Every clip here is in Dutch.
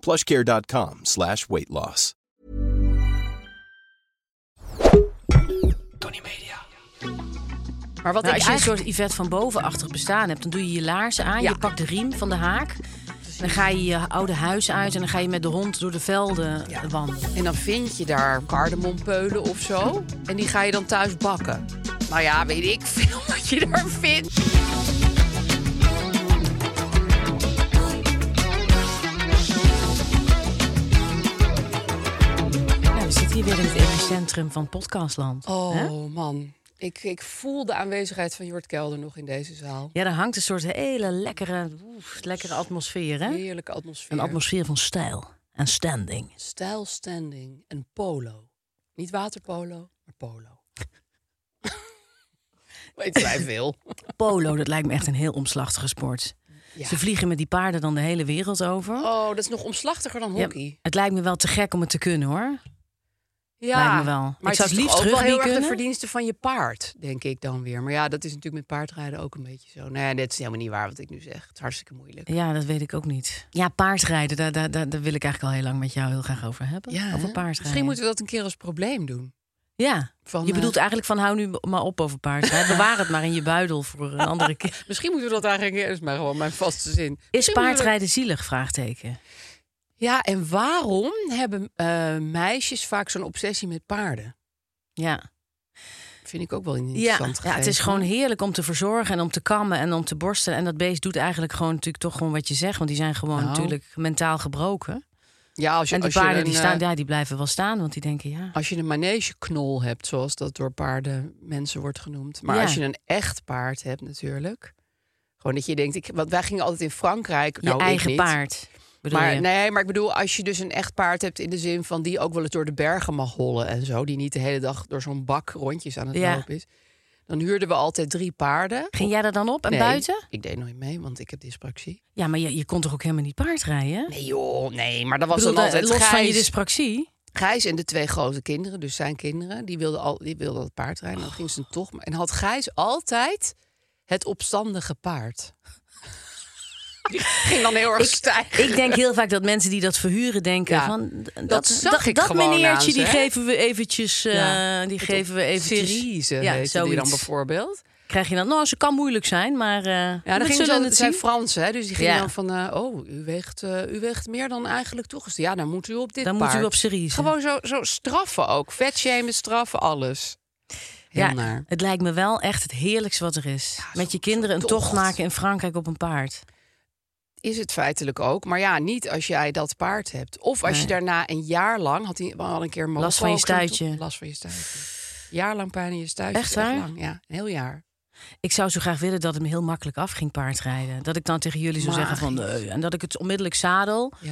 plushcare.com slash weight loss. Tony Media. Maar wat ik Nou, als je een eigenlijk- soort Yvette van bovenachtig bestaan hebt, dan doe je je laarzen aan, Ja. je pakt de riem van de haak. En dan ga je je oude huis uit en dan ga je met de hond door de velden Ja. eh, wandelen. En dan vind je daar kardemompeulen of zo. En die ga je dan thuis bakken. Nou ja, weet ik veel wat je daar vindt. Nou, we zitten hier weer in het epicentrum van podcastland. Oh hè? man, ik, ik voel de aanwezigheid van Jort Kelder nog in deze zaal. Ja, daar hangt een soort hele lekkere, oef, lekkere atmosfeer, hè? Heerlijke atmosfeer. Een atmosfeer van stijl en standing. Stijl standing en polo. Niet waterpolo, maar polo. Weet wij veel. Polo, dat lijkt me echt een heel omslachtige sport. Ja. Ze vliegen met die paarden dan de hele wereld over. Oh, dat is nog omslachtiger dan Ja, hockey. het lijkt me wel te gek om het te kunnen, hoor. Ja, Lijkt me wel. Ik Maar zou het is liefst toch ook wel rugby heel erg de kunnen? verdiensten van je paard, denk ik dan weer. Maar ja, dat is natuurlijk met paardrijden ook een beetje zo. Nou ja, dit is helemaal niet waar wat ik nu zeg. Het is hartstikke moeilijk. Ja, dat weet ik ook niet. Ja, paardrijden, daar, daar, daar, daar wil ik eigenlijk al heel lang met jou heel graag over hebben. over hè? paardrijden. Misschien moeten we dat een keer als probleem doen. ja. Van, je eh, bedoelt eigenlijk van hou nu maar op over paardrijden. Bewaar het maar in je buidel voor een andere keer. Misschien moeten we dat eigenlijk... Dat is maar gewoon mijn vaste zin. Is Misschien moeten we- paardrijden zielig? Vraagteken. Ja, en waarom hebben eh, meisjes vaak zo'n obsessie met paarden? Ja. Vind ik ook wel een Ja. interessant ja, het is gegeven. gewoon heerlijk om te verzorgen en om te kammen en om te borstelen. En dat beest doet eigenlijk gewoon natuurlijk toch gewoon wat je zegt. Want die zijn gewoon Nou. natuurlijk mentaal gebroken. Ja, als je, En die als je paarden een, die, eh, staan, ja, die blijven wel staan, want die denken ja. Als je een manegeknol hebt, zoals dat door paarden mensen wordt genoemd. Maar Ja. als je een echt paard hebt natuurlijk. Gewoon dat je denkt, ik, want wij gingen altijd in Frankrijk. Je nou, ik eigen niet. paard. Bedoel Maar, je? nee, maar ik bedoel, als je dus een echt paard hebt in de zin van die ook wel eens door de bergen mag hollen en zo. Die niet de hele dag door zo'n bak rondjes aan het Ja. lopen is. Dan huurden we altijd drie paarden. Ging jij daar dan op en Nee, buiten? Ik deed nooit mee, want ik heb dyspraxie. Ja, maar je, je kon toch ook helemaal niet paardrijden? Nee joh, nee, maar dat was bedoel, dan de- altijd los van je Gijs. dyspraxie. Gijs en de twee grote kinderen, dus zijn kinderen, die wilden, al, die wilden het paard rijden. Dan ging ze een tocht. ma- En had Gijs altijd het opstandige paard. Die ging dan heel erg stijgen. Ik denk heel vaak dat mensen die dat verhuren denken Ja, van d- dat zag dat, ik dat gewoon aan meneertje ze, die hè? geven we eventjes eh, Ja, die geven we eventjes Cerise ja, heette die dan zoiets. bijvoorbeeld. Krijg je dan nou ze kan moeilijk zijn, maar eh Ja, we dan ging zullen ze het het zijn zien. Frans, hè? Dus die ging Ja. dan van, eh, oh, u weegt, eh, u weegt meer dan eigenlijk toegestaan. Ja, dan moet u op dit Dan moet paard. u op Cerise. Gewoon zo, zo straffen ook. Vetshamen, straffen, alles. Heel ja, naar. het lijkt me wel echt het heerlijkste wat er is. Met je kinderen een zo'n tocht. tocht. maken in Frankrijk op een paard. Is het feitelijk ook. Maar ja, niet als jij dat paard hebt. Of als je Nee. daarna een jaar lang... had hij al een keer mogen Last van je ook zo'n tocht- stuitje. Last van je stuitje. Jaar lang pijn in je stuitje. Echt is waar? lang, ja, een heel jaar. Ik zou zo graag willen dat het me heel makkelijk af ging paardrijden. Dat ik dan tegen jullie zou zeggen van Magisch. nee. En dat ik het onmiddellijk zadel Ja.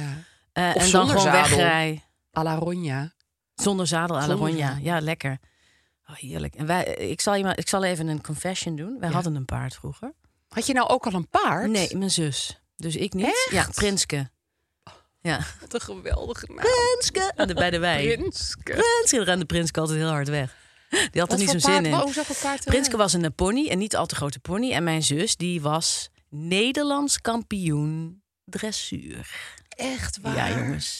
eh, Of en dan zonder gewoon zadel. wegrij. A la Ronja. Zonder zadel à la Zonder Ronja. zadel. Ja, lekker. Oh, heerlijk. En wij, ik, zal je maar, ik zal even een confession doen. Wij Ja. hadden een paard vroeger. Had je nou ook al een paard? Nee, mijn zus. Dus ik niet. Echt? Oh. Ja, Prinske. Ja. Wat een geweldige naam. Prinske. Aan de- Bij de wei. Prinske. Prinske. Daar rende Prinske altijd heel hard weg. Die had Wat er niet voor zo'n paard- zin in. Hoe zag het paard eruit? Prinske was een pony en niet al te grote pony. En mijn zus, die was Nederlands kampioen dressuur. Echt waar? Ja, jongens.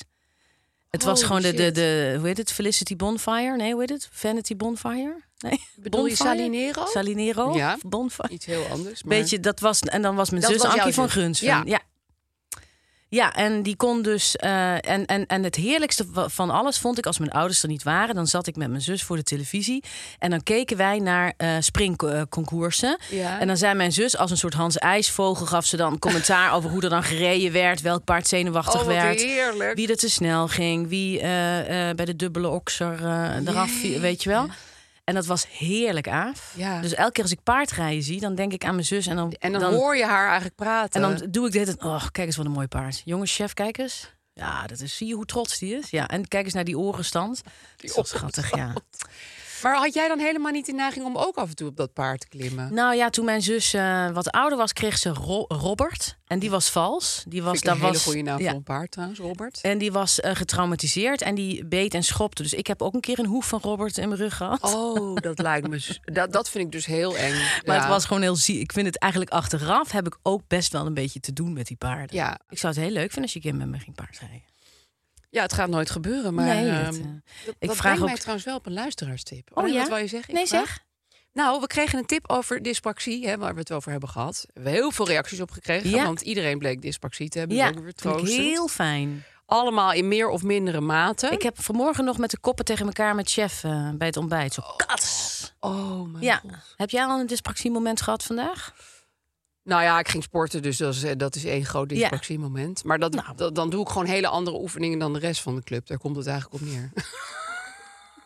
Het was Holy gewoon de, de, shit. de, hoe heet het? Felicity Bonfire? Nee, hoe heet het? Vanity Bonfire? Nee. Bedoel je Salinero? Salinero? Ja. Bonfire. Iets heel anders. Maar... Beetje, dat was, en dan was mijn Dat zus was jouw Ankie van zus. Gunsven. Ja. Ja. ja. Ja, en die kon dus. eh, en, en, en het heerlijkste wa- van alles vond ik als mijn ouders er niet waren. Dan zat ik met mijn zus voor de televisie. En dan keken wij naar eh springconcoursen. Ja. En dan zei mijn zus, als een soort Hans IJsvogel, gaf ze dan commentaar over hoe er dan gereden werd. Welk paard zenuwachtig Oh, wat werd. heerlijk. Wie er te snel ging. Wie eh, eh, bij de dubbele okser eh eraf viel. Weet je wel. En dat was heerlijk af. Ja. Dus elke keer als ik paardrijden zie, dan denk ik aan mijn zus. En dan, En dan, hoor je haar eigenlijk praten. en dan doe ik dit en oh, kijk eens wat een mooi paard. Jongens, chef, kijk eens. Ja, dat is, zie je hoe trots die is? Ja, en kijk eens naar die orenstand. Die dat is wel schattig, ja. Maar had jij dan helemaal niet de neiging om ook af en toe op dat paard te klimmen? Nou ja, toen mijn zus eh, wat ouder was, kreeg ze Ro- Robert. En die was vals. Die was, Vind ik een daar hele was, goede naam ja. voor een paard trouwens, Robert. En die was eh, getraumatiseerd en die beet en schopte. Dus ik heb ook een keer een hoef van Robert in mijn rug gehad. Oh, dat lijkt me... z- Dat, dat vind ik dus heel eng. Maar Ja. het was gewoon heel ziek. Ik vind het eigenlijk achteraf heb ik ook best wel een beetje te doen met die paarden. Ja. Ik zou het heel leuk vinden als je een keer met me ging paardrijden. ja, het gaat nooit gebeuren, maar... Nee, ehm, dat, eh, dat- ik dat vraag brengt mij ook- Oh trouwens wel op een luisteraarstip. nee, Wat wil je zeggen? Ik Nee, vraag- zeg. Nou, we kregen een tip over dyspraxie, hè, waar we het over hebben gehad. We hebben heel veel reacties op gekregen, Ja. want iedereen bleek dyspraxie te hebben. Ja, Dat is ook weer vind ik troostend. heel fijn. Allemaal in meer of mindere mate. Ik heb vanmorgen nog met de koppen tegen elkaar met chef eh, bij het ontbijt. Zo, kats. Oh, mijn Ja. god. Heb jij al een dyspraxiemoment gehad vandaag? Nou ja, ik ging sporten, dus dat is, eh, dat is één groot dyspraxiemoment. Maar dat, Nou. dat- dan doe ik gewoon hele andere oefeningen dan de rest van de club. Daar komt het eigenlijk op neer.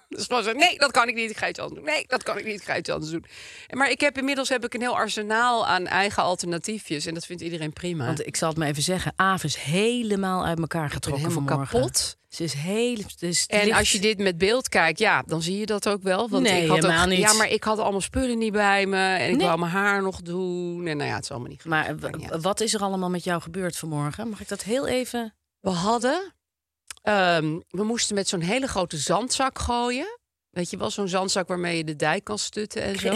dus gewoon zeggen, nee, dat kan ik niet, ik ga iets anders doen. Nee, dat kan ik niet, ik ga iets anders doen. En Maar ik heb inmiddels heb ik een heel arsenaal aan eigen alternatiefjes. En dat vindt iedereen prima. Want ik zal het maar even zeggen. Aaf is helemaal uit elkaar getrokken helemaal vanmorgen. kapot. Ze is heel... Dus het En ligt- als je dit met beeld kijkt, ja, dan zie je dat ook wel. Want Nee, ik had ook- helemaal niet. Ja, maar ik had allemaal spullen niet bij me. En ik Nee. wou mijn haar nog doen. En nou ja, het is allemaal niet gelukt. Maar Maakt niet w- uit. wat is er allemaal met jou gebeurd vanmorgen? Mag ik dat heel even... We hadden... ehm, we moesten met zo'n hele grote zandzak gooien. Weet je wel, zo'n zandzak waarmee je de dijk kan stutten en zo.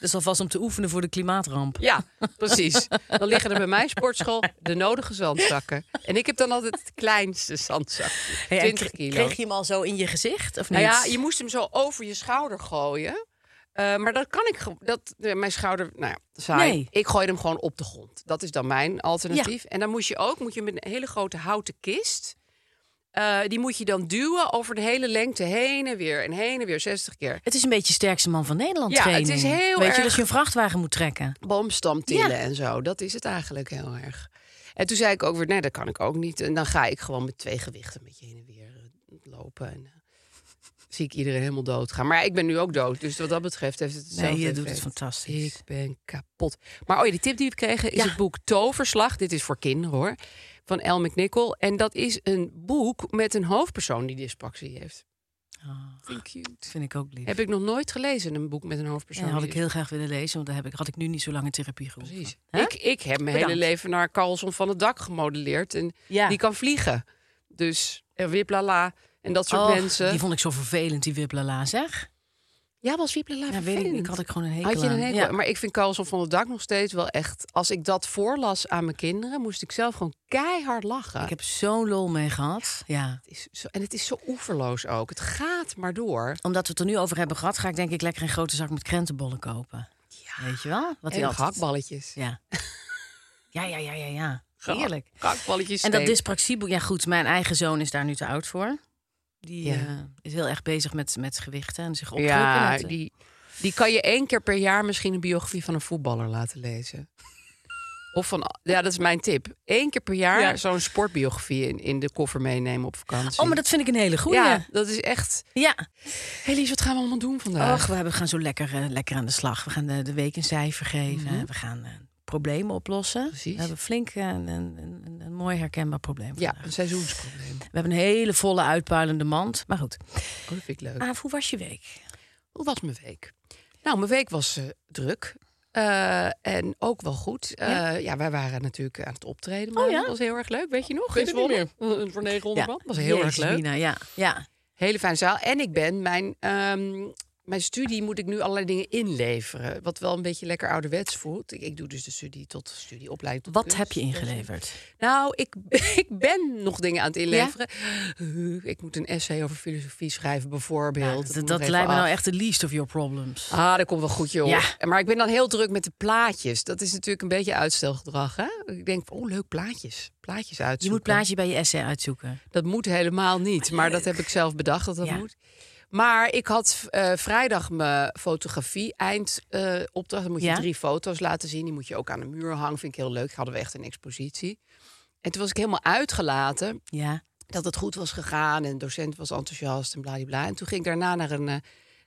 Dat is alvast om te oefenen voor de klimaatramp. Ja, precies. Dan liggen er bij mijn sportschool de nodige zandzakken. En ik heb dan altijd het kleinste zandzak. Hey, en 20 kre- kilo. Kreeg je hem al zo in je gezicht of niet? Nou ja, je moest hem zo over je schouder gooien. Eh, maar dat kan ik gewoon. Dat eh, mijn schouder. Nou ja, saai. Nee. Ik gooi hem gewoon op de grond. Dat is dan mijn alternatief. En dan moet je ook. Moet je met een hele grote houten kist. eh, die moet je dan duwen over de hele lengte heen en weer. En heen en weer 60 keer. Het is een beetje sterkste man van Nederland Ja, het training. is heel Weet erg- je dat je een vrachtwagen moet trekken? boomstam tillen Ja. en zo. Dat is het eigenlijk heel erg. En toen zei ik ook weer, nee, dat kan ik ook niet. En dan ga ik gewoon met twee gewichten met je heen en weer eh, lopen. En eh, zie ik iedereen helemaal dood gaan. Maar ja, ik ben nu ook dood, dus wat dat betreft heeft het hetzelfde je doet effect. het fantastisch. Ik ben kapot. Maar oh ja, die tip die we kregen is Ja. het boek Toverslag. Dit is voor kinderen hoor, van El McNichol. En dat is een boek met een hoofdpersoon die dyspraxie heeft. Vind ik Ah, Dat cute. vind ik ook lief. Heb ik nog nooit gelezen, een boek met een hoofdpersoon. Ja, had die ik heel graag willen lezen, want daar heb ik, had ik nu niet zo lang in therapie gehoeven. Precies. Hè? Ik, ik heb mijn Bedankt. hele leven naar Carlson van het dak gemodelleerd. En Ja. die kan vliegen. Dus en wiplala en dat soort Och, mensen. Die vond ik zo vervelend, die wiplala, zeg. Ja, was wiplala Ja, weet ik vervelend? niet. Had ik gewoon een hekel Had je aan. een hekel? Ja. Maar ik vind Carlson van het dak nog steeds wel echt... Als ik dat voorlas aan mijn kinderen, moest ik zelf gewoon keihard lachen. Ik heb zo'n lol mee gehad. Ja. Het is zo, en het is zo oeverloos ook. Het gaat maar door. Omdat we het er nu over hebben gehad, ga ik denk ik lekker een grote zak met krentenbollen kopen. Weet je wel? Wat en altijd- hakballetjes. Ja. ja, ja, ja, ja, ja. Heerlijk. Hakballetjes En dat steek. dyspraxieboek, ja goed, mijn eigen zoon is daar nu te oud voor. Die Ja. eh, is heel erg bezig met, met gewichten en zich opdrukken. Ja, Dat, eh, die, die kan je één keer per jaar misschien een biografie van een voetballer laten lezen. Of van, ja, dat is mijn tip. Eén keer per jaar Ja. zo'n sportbiografie in, in de koffer meenemen op vakantie. Oh, maar dat vind ik een hele goeie. Ja, dat is echt. ja. Hé Lies, wat gaan we allemaal doen vandaag? Och, we hebben- we gaan zo lekker, eh, lekker aan de slag. We gaan de, de week een cijfer geven. We gaan eh, problemen oplossen. Mhm. Precies. We hebben flink eh, een, een, een, een mooi herkenbaar probleem. ja, vandaag. een seizoensprobleem. We hebben een hele volle uitpuilende mand. Maar goed. Oh, dat vind ik leuk. Aaf, hoe was je week? Hoe was mijn week? Nou, mijn week was eh, druk. Eh, en ook wel goed. Eh, ja. wij waren natuurlijk aan het optreden. Maar Oh ja? dat was heel erg leek. leuk. Weet je nog? Weet je meer. Voor 900 man. was heel erg Jezus, leuk. Mina, ja, ja. Hele fijne zaal. En ik ben mijn ehm, mijn studie moet ik nu allerlei dingen inleveren. Wat wel een beetje lekker ouderwets voelt. Ik, ik doe dus de studie tot studieopleiding. Tot Wat kunst. heb je ingeleverd? Nou, ik, ik ben nog dingen aan het inleveren. Ik moet een essay over filosofie schrijven, bijvoorbeeld. Dat, moet dat nog lijkt even me nou af. echt de least of your problems. Ah, dat komt wel goed, joh. Ja. Maar ik ben dan heel druk met de plaatjes. Dat is natuurlijk een beetje uitstelgedrag, hè? Ik denk, van, oh, leuk, plaatjes. Plaatjes uitzoeken. Je moet plaatje bij je essay uitzoeken. Dat moet helemaal niet. Maar dat heb ik zelf bedacht dat dat Ah, Ja. moet. Maar ik had eh, vrijdag mijn fotografie eindopdracht. Dan moet je Ja. drie foto's laten zien. Die moet je ook aan de muur hangen. Vind ik heel leuk. Hadden we echt een expositie. En toen was ik helemaal uitgelaten Ja. dat het goed was gegaan. En de docent was enthousiast en bladibla. En toen ging ik daarna naar een eh,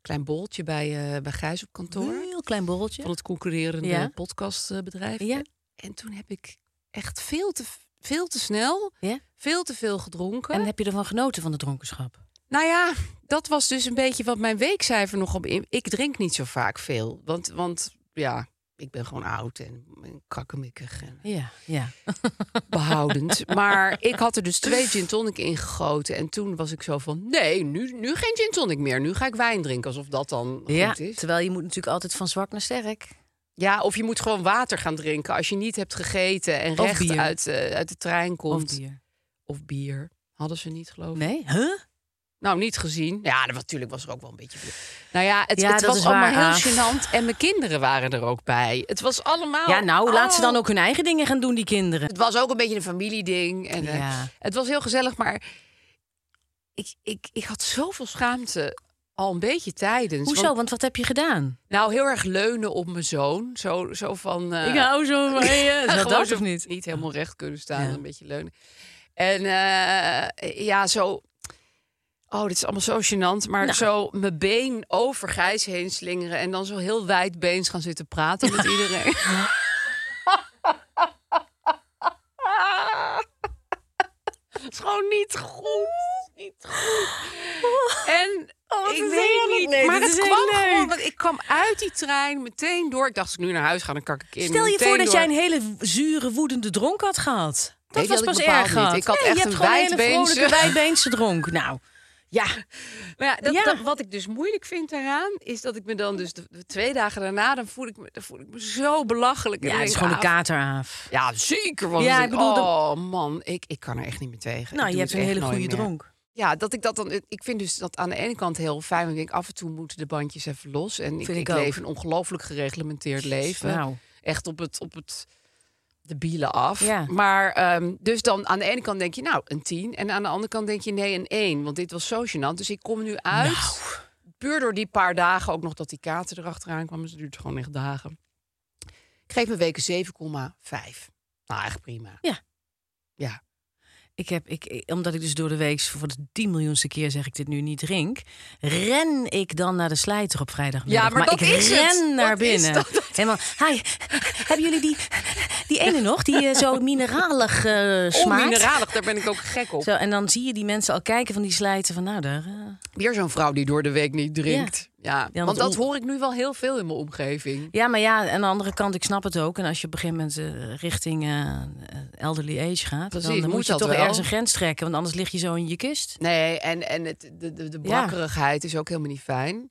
klein boltje bij, eh, bij Gijs op kantoor. Heel klein Van borreltje. het concurrerende Mm. Ja. podcastbedrijf. Ja. En toen heb ik echt veel te, veel te snel, Ja. veel te veel gedronken. En heb je ervan genoten van de dronkenschap? Nou ja, dat was dus een beetje wat mijn weekcijfer nog op in. Ik drink niet zo vaak veel. Want, want ja, ik ben gewoon oud en, en kakkemikkig en Ja. ja. behoudend. maar ik had er dus twee gin tonic in gegoten. En toen was ik zo van, nee, nu, nu geen gin tonic meer. Nu ga ik wijn drinken, alsof dat dan ja. goed is. Terwijl je moet natuurlijk altijd van zwak naar sterk. Ja, of je moet gewoon water gaan drinken als je niet hebt gegeten... en Of recht bier. Uit, eh, uit de trein Of komt. bier. Of bier. Hadden ze niet, geloof ik. Nee? Huh? Nou, niet gezien. Ja, dat- natuurlijk was er ook wel een beetje. bier. Nou ja, het, Ja, het dat was is waar, allemaal Aaf. heel gênant. En mijn kinderen waren er ook bij. Het was allemaal. Ja, nou, laat ze Oh. dan ook hun eigen dingen gaan doen, die kinderen. Het was ook een beetje een familieding. En, eh, Ja. het was heel gezellig, maar ik, ik, ik had zoveel schaamte al een beetje tijdens. Hoezo? Want- Want, wat heb je gedaan? nou, heel erg leunen op mijn zoon. Zo, zo van. eh, hou zo van je. Ja, Zou gewoon dat zo of niet? Niet helemaal recht kunnen staan, Ja. en een beetje leunen. En eh, ja, zo... Oh, dit is allemaal zo gênant. Maar Nou. zo mijn been over Gijs heen slingeren... en dan zo heel wijdbeens gaan zitten praten met iedereen. Het is gewoon niet goed. Niet goed. En ik is weet Oh, heerlijk. niet, Nee, maar dit het is heel kwam leuk. gewoon... Want ik kwam uit die trein meteen door. Ik dacht, als ik nu naar huis ga, dan kak ik in. Stel je Meteen voor dat door. jij een hele zure, woedende dronk had gehad. Dat Nee, die had was ik pas bepaald erg niet. gehad. Ik had nee, echt je hebt een gewoon een hele wijdbeense- vrolijke wijdbeense dronk. Nou, ja. Maar ja, dat, Ja. dat- wat ik dus moeilijk vind daaraan, is dat ik me dan dus de, de twee dagen daarna, dan voel ik me, dan voel ik me zo belachelijk. En Ja, dan het is denk gewoon ik, een ah, kater af. Ja, zeker was Ja, het. ik bedoel, dat- oh man, ik, ik kan er echt niet meer tegen. Ik Nou, je doe het hebt een echt hele nooit goede meer. dronk. Ja, dat ik dat dan. Ik vind dus dat aan de ene kant heel fijn. want Ik denk af en toe moeten de bandjes even los. En ik, Vind ik ik ook. leef een ongelooflijk gereglementeerd leven. Nou, Echt op het, op het de bielen af. Ja. Maar ehm, dus dan aan de ene kant denk je, nou, een 10. En aan de andere kant denk je, nee, een 1. Want dit was zo gênant. Dus ik kom nu uit. Nou. Puur door die paar dagen ook nog dat die kater erachteraan kwam. Dus het duurt gewoon echt dagen. Ik geef mijn weken 7,5. Nou, echt prima. ik heb, ik- ik, omdat ik dus door de week voor de 10 miljoenste keer zeg ik dit nu niet drink, ren ik dan naar de slijter op vrijdagmiddag. Ja, maar dat ik is het. ren naar Dat is binnen. dat- dat- Helemaal. Hi, hebben jullie die, die ene nog die eh, zo mineralig eh smaakt? Onmineralig, daar ben ik ook gek op. Zo, en dan zie je die mensen al kijken van die slijten van nou daar. eh. Weer zo'n vrouw die door de week niet drinkt. Ja, want want dat on- hoor ik nu wel heel veel in mijn omgeving. Ja, maar ja, aan de andere kant, ik snap het ook. En als je op een gegeven moment eh, richting eh, elderly age gaat, Precies, dan, eh, moet moet, je dat toch wel. ergens een grens trekken, want anders lig je zo in je kist. Nee, en, en het, de, de, de brakkerigheid is ook helemaal niet fijn.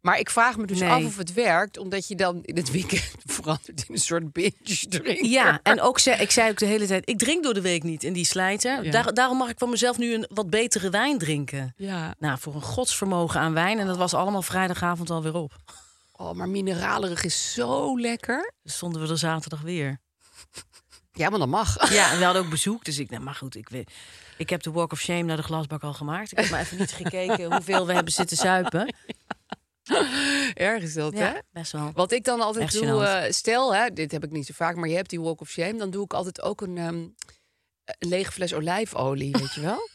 Maar ik vraag me dus Nee. af of het werkt, omdat je dan in het weekend verandert in een soort binge drinker. Ja, en ook ze, ik zei ook de hele tijd, ik drink door de week niet in die slijter. Ja. Daar- daarom mag ik van mezelf nu een wat betere wijn drinken. ja. Nou, voor een godsvermogen aan wijn. En dat was allemaal vrijdagavond alweer op. Oh, maar mineralerig is zo lekker. Dus stonden we er zaterdag weer. Ja, maar dat mag. Ja, en we hadden ook bezoek. Dus ik, nou, maar goed, ik, weet- ik heb de walk of shame naar de glasbak al gemaakt. Ik heb maar even niet gekeken hoeveel we hebben zitten zuipen. Erg is dat, hè? Ja, best wel. Wat ik dan altijd Echt doe, gênant. eh, stel, hè, dit heb ik niet zo vaak, maar je hebt die walk of shame, dan doe ik altijd ook een, ehm, een lege fles olijfolie, weet je wel?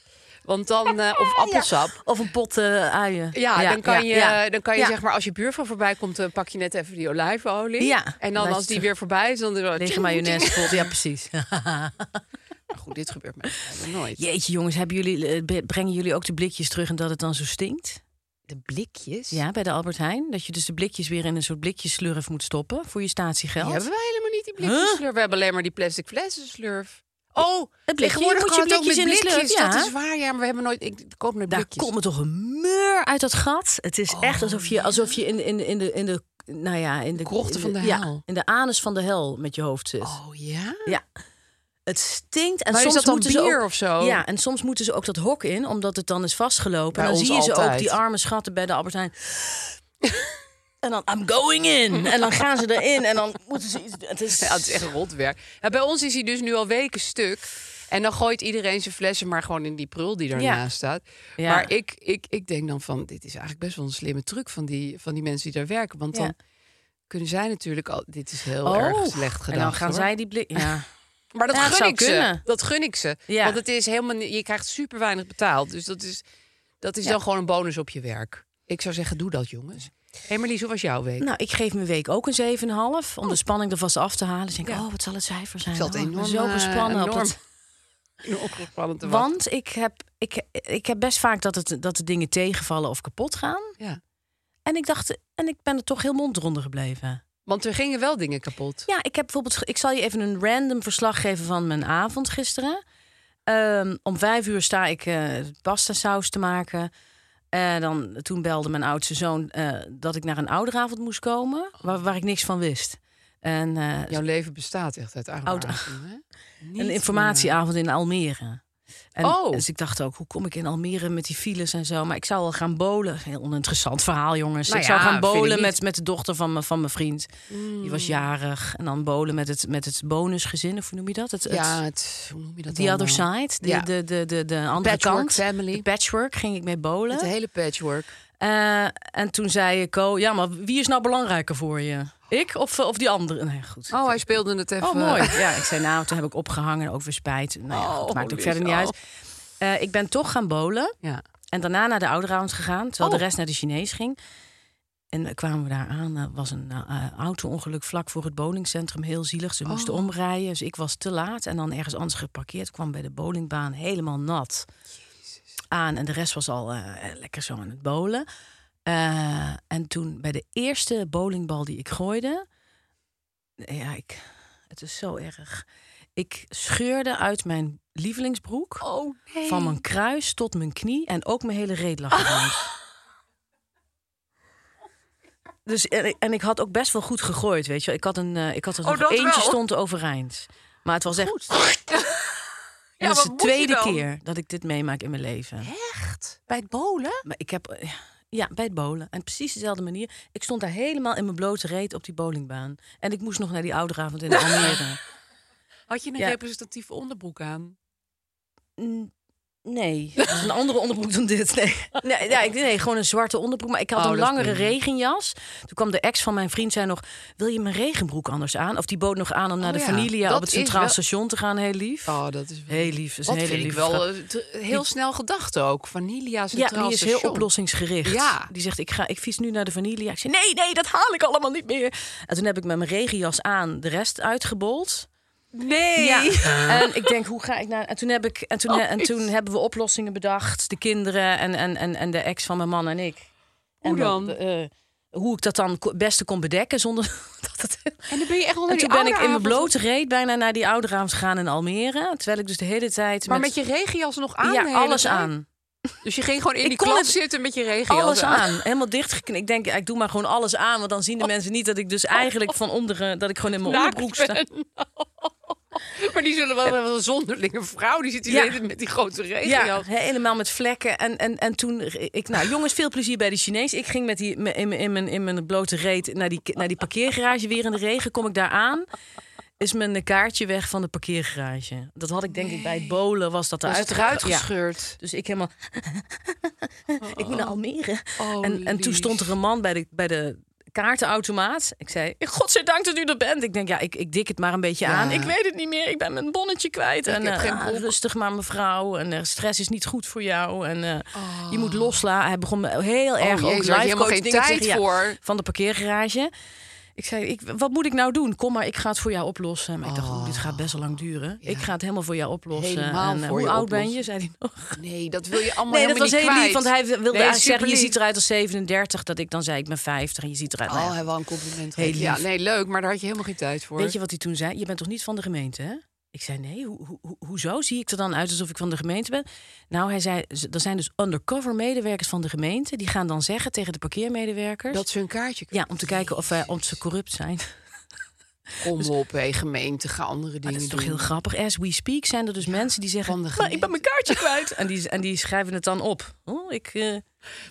Want dan, eh, of appelsap. Of een pot eh, uien. Ja, dan kan ja, je, ja. Dan kan je Ja. zeg maar als je buurvrouw voorbij komt, dan pak je net even die olijfolie. Ja, en dan luister. als die weer voorbij is, dan doe je wel Lege tjing, mayonaise tjing. pot, ja precies. Maar Goed, dit gebeurt mij bijna nooit. Jeetje jongens, hebben jullie, eh, be- brengen jullie ook de blikjes terug en dat het dan zo stinkt? De blikjes. Ja, bij de Albert Heijn. Dat je dus de blikjes weer in een soort blikjeslurf moet stoppen voor je Die statiegeld. hebben wij helemaal niet die Huh? blikjes slurf. We hebben alleen maar die plastic flessen slurf. Oh, Het blikje. tegenwoordig Je moet kan je het ook met blikjes in de blikjes. slurp, ja. Dat is waar, ja, maar we hebben nooit... Ik koop nooit Daar blikjes. Oh, komt me toch een meur uit dat gat. Het is echt alsof je, alsof je in, de- in, de- in, de, in de. Nou ja, in de Krochten in van de Ja, hel. in de anus van de hel met je hoofd zit. Oh ja? Ja. Het stinkt. En Maar is soms dat dan moeten ze bier ook, of zo? Ja, en soms moeten ze ook dat hok in, omdat het dan is vastgelopen. Bij en dan ons zie je ze ook, altijd. die arme schatten bij de Albert Heijn. en dan, I'm going in. En dan gaan ze erin en dan moeten ze iets... Het is, Ja, Oh, het is echt rotwerk. Ja, bij ons is hij dus nu al weken stuk. En dan gooit iedereen zijn flessen maar gewoon in die prul die daarnaast Ja. staat. Ja. Maar ik, ik, ik denk dan van, dit is eigenlijk best wel een slimme truc van die, van die mensen die daar werken. Want Ja. dan kunnen zij natuurlijk al, dit is heel Oh. erg slecht gedaan. En dan gaan zij die blik... Ja. Maar dat Ja, het gun zou ik kunnen. ze. Dat gun ik ze. Ja. Want het is helemaal, ni- je krijgt super weinig betaald. Dus dat is, dat is Ja. dan gewoon een bonus op je werk. Ik zou zeggen, doe dat jongens. Hé hey hoe was jouw week? Nou, ik geef mijn week ook een 7,5 om de spanning er vast af te halen. Dus ik denk, oh, wat zal het cijfer Oh. zijn? Zal het Oh, ik ben enorm, zo eh, gespannen op enorm dat- enorm gespannen te wachten. Want ik heb, ik, ik heb best vaak dat, het, dat de dingen tegenvallen of kapot gaan. Ja. En ik dacht, en ik ben er toch heel mondronder gebleven. Want er gingen wel dingen kapot. Ja, ik heb bijvoorbeeld. ge- Ik zal je even een random verslag geven van mijn avond gisteren. Ehm, om vijf uur sta ik eh pasta saus te maken. Eh, dan, toen belde mijn oudste zoon eh, dat ik naar een ouderavond moest komen, waar, waar ik niks van wist. En eh, Jouw leven bestaat echt uit Oud- aanraking, hè? Niet Oh, eh, een informatieavond in Almere. En Oh. Dus ik dacht ook, hoe kom ik in Almere met die files en zo? Maar ik zou al gaan bolen. Heel oninteressant verhaal, jongens. Nou ik ja, zou gaan vind ik bolen niet. Mm. met, met de dochter van, mijn- van mijn vriend. Die was jarig. En dan bolen met het, met het bonusgezin, of hoe noem je dat? Het, meer. het- Ja, het, hoe noem je dat the dan other nou? side, de, Ja. de, de, de, de andere Patchwork kant. family. De patchwork ging ik mee bolen. Het hele patchwork. Eh, en toen zei Co, ja, maar wie is nou belangrijker voor je? Ik of, eh, of die andere? Nee, goed. Oh, hij speelde het even. Oh, mooi. Ja, ik zei nou, toen heb ik opgehangen, ook weer spijt. Nou ja, goed, Oh, maakt ook Lies, verder niet oh. uit. Eh, ik ben toch gaan bolen Ja. en daarna naar de ouderavond gegaan, terwijl Oh. de rest naar de Chinees ging. En eh, kwamen we daar aan, er was een eh, auto-ongeluk vlak voor het bowlingcentrum, heel zielig. Ze moesten omrijden, dus ik was te laat en dan ergens anders geparkeerd. Kwam bij de bowlingbaan helemaal nat aan en de rest was al eh, lekker zo aan het bowlen. Eh, en toen bij de eerste bowlingbal die ik gooide, ja, ik, het is zo erg. Ik scheurde uit mijn lievelingsbroek. Oh, nee. Van mijn kruis tot mijn knie en ook mijn hele reet lag eruit. Dus, en, ik- en ik had ook best wel goed gegooid, weet je wel. Ik had, een, eh, ik had er nog Oh, dat eentje wel. stond overeind. Maar het was echt... Ja, En wat dat is de moet je tweede dan? keer dat ik dit meemaak in mijn leven. Echt? Bij het bolen? Maar ik heb... eh, Ja, bij het bowlen. En precies dezelfde manier. Ik stond daar helemaal in mijn blote reet op die bowlingbaan. En ik moest nog naar die ouderavond in de Almere. Had je een Ja. representatieve onderbroek aan? N- Nee, dat is een andere onderbroek dan dit. Nee, nee, ja, ik, nee gewoon een zwarte onderbroek. Maar ik had Oh, een dat is langere prima. regenjas. Toen kwam de ex van mijn vriend, zei nog... wil je mijn regenbroek anders aan? Of die bood nog aan om naar Oh de ja, Familia dat op het Centraal is wel- Station te gaan. Heel lief. Oh, dat is wel... Heel lief, dat is Wat een hele vind ik wel lieve vrouw. eh, te- heel snel gedacht ook. Vanilia Ja, Centraal die is heel Station. oplossingsgericht. Ja. Die zegt, ik, ga, ik fiets nu naar de Familia. Ik zei, nee, nee, dat haal ik allemaal niet meer. En toen heb ik met mijn regenjas aan de rest uitgebold. Nee! Oh, Ja. En ik denk, hoe ga ik naar. En toen, heb ik, en toen, en is- toen hebben we oplossingen bedacht. De kinderen en, en, en, en de ex van mijn man en ik. Hoe en dan? we- eh, hoe ik dat dan het beste kon bedekken zonder dat het. En dan ben je echt al En toen ben ik in mijn blote reet bijna naar die oude raams gegaan in Almere. Terwijl ik dus de hele tijd. Maar met je regenjas nog aan? de ja, hele alles tijd? aan. Dus je ging gewoon in Ik die kon klas het- zitten met je regenjas Alles aan. Helemaal dichtgeknipt. Ik denk, ja, ik doe maar gewoon alles aan. Want dan zien de mensen niet dat ik dus eigenlijk van onderen. dat ik gewoon in mijn Oh. Naakt onderbroek sta. Maar die zullen wel wel een zonderlinge vrouw. Die zit hier Ja. de hele tijd met die grote regenjas. Ja, he- helemaal met vlekken. En, en, en toen, ik, nou jongens, veel plezier bij de Chinees. Ik ging met die, me- in, mijn- in, mijn, in mijn blote reet naar die, naar die parkeergarage weer in de regen. Kom ik daar aan, is mijn kaartje weg van de parkeergarage. Dat had ik denk ik bij het bolen, was dat Was eruit het eruit ge- Nou, ja. gescheurd. Dus ik helemaal, ik moet naar Almere. Oh, en, en toen lief. stond er een man bij de, bij de kaartenautomaat. Ik zei, godzijdank dat u er bent. Ik denk, ja, ik, ik dik het maar een beetje Ja. aan. Ik weet het niet meer, ik ben mijn bonnetje kwijt. en heb eh, geen ah, broek. rustig maar mevrouw. En eh, stress is niet goed voor jou. En eh, je moet loslaten. Hij begon me heel erg Oh. jezus, ook had je live helemaal coach geen dingen te tijd zeggen, ja, voor. van de parkeergarage. Ik zei, ik, wat moet ik nou doen? Kom maar, ik ga het voor jou oplossen. Maar ik dacht, oeh, dit gaat best wel lang duren. Ik ga het helemaal voor jou oplossen. Oh. Helemaal en, eh, voor hoe je oud ben oplossen. je? zei hij nog. Nee, dat wil je allemaal Nee, helemaal dat was niet heel kwijt. lief, want hij wilde Nee, eigenlijk zeggen... je superlief. ziet eruit als 37, dat ik dan zei, ik ben 50 en je ziet eruit... nou ja, Oh, hij wil een compliment Heel geven. Ja, lief. nee, leuk, maar daar had je helemaal geen tijd voor. Weet je wat hij toen zei? Je bent toch niet van de gemeente, hè? Ik zei, nee, hoe, hoe- hoe, hoezo zie ik er dan uit alsof ik van de gemeente ben? Nou, hij zei, ze- er zijn dus undercover medewerkers van de gemeente... die gaan dan zeggen tegen de parkeermedewerkers... Dat ze hun kaartje ja, om te kijken of, wij of ze corrupt zijn. Kom eh, op, hé, gemeente, ga andere dingen Maar Ah, dat is toch doen. heel grappig. As we speak zijn er dus mensen die zeggen... van de Maar ik ben mijn kaartje kwijt. en, die, en die schrijven het dan op. Oh, ik, eh,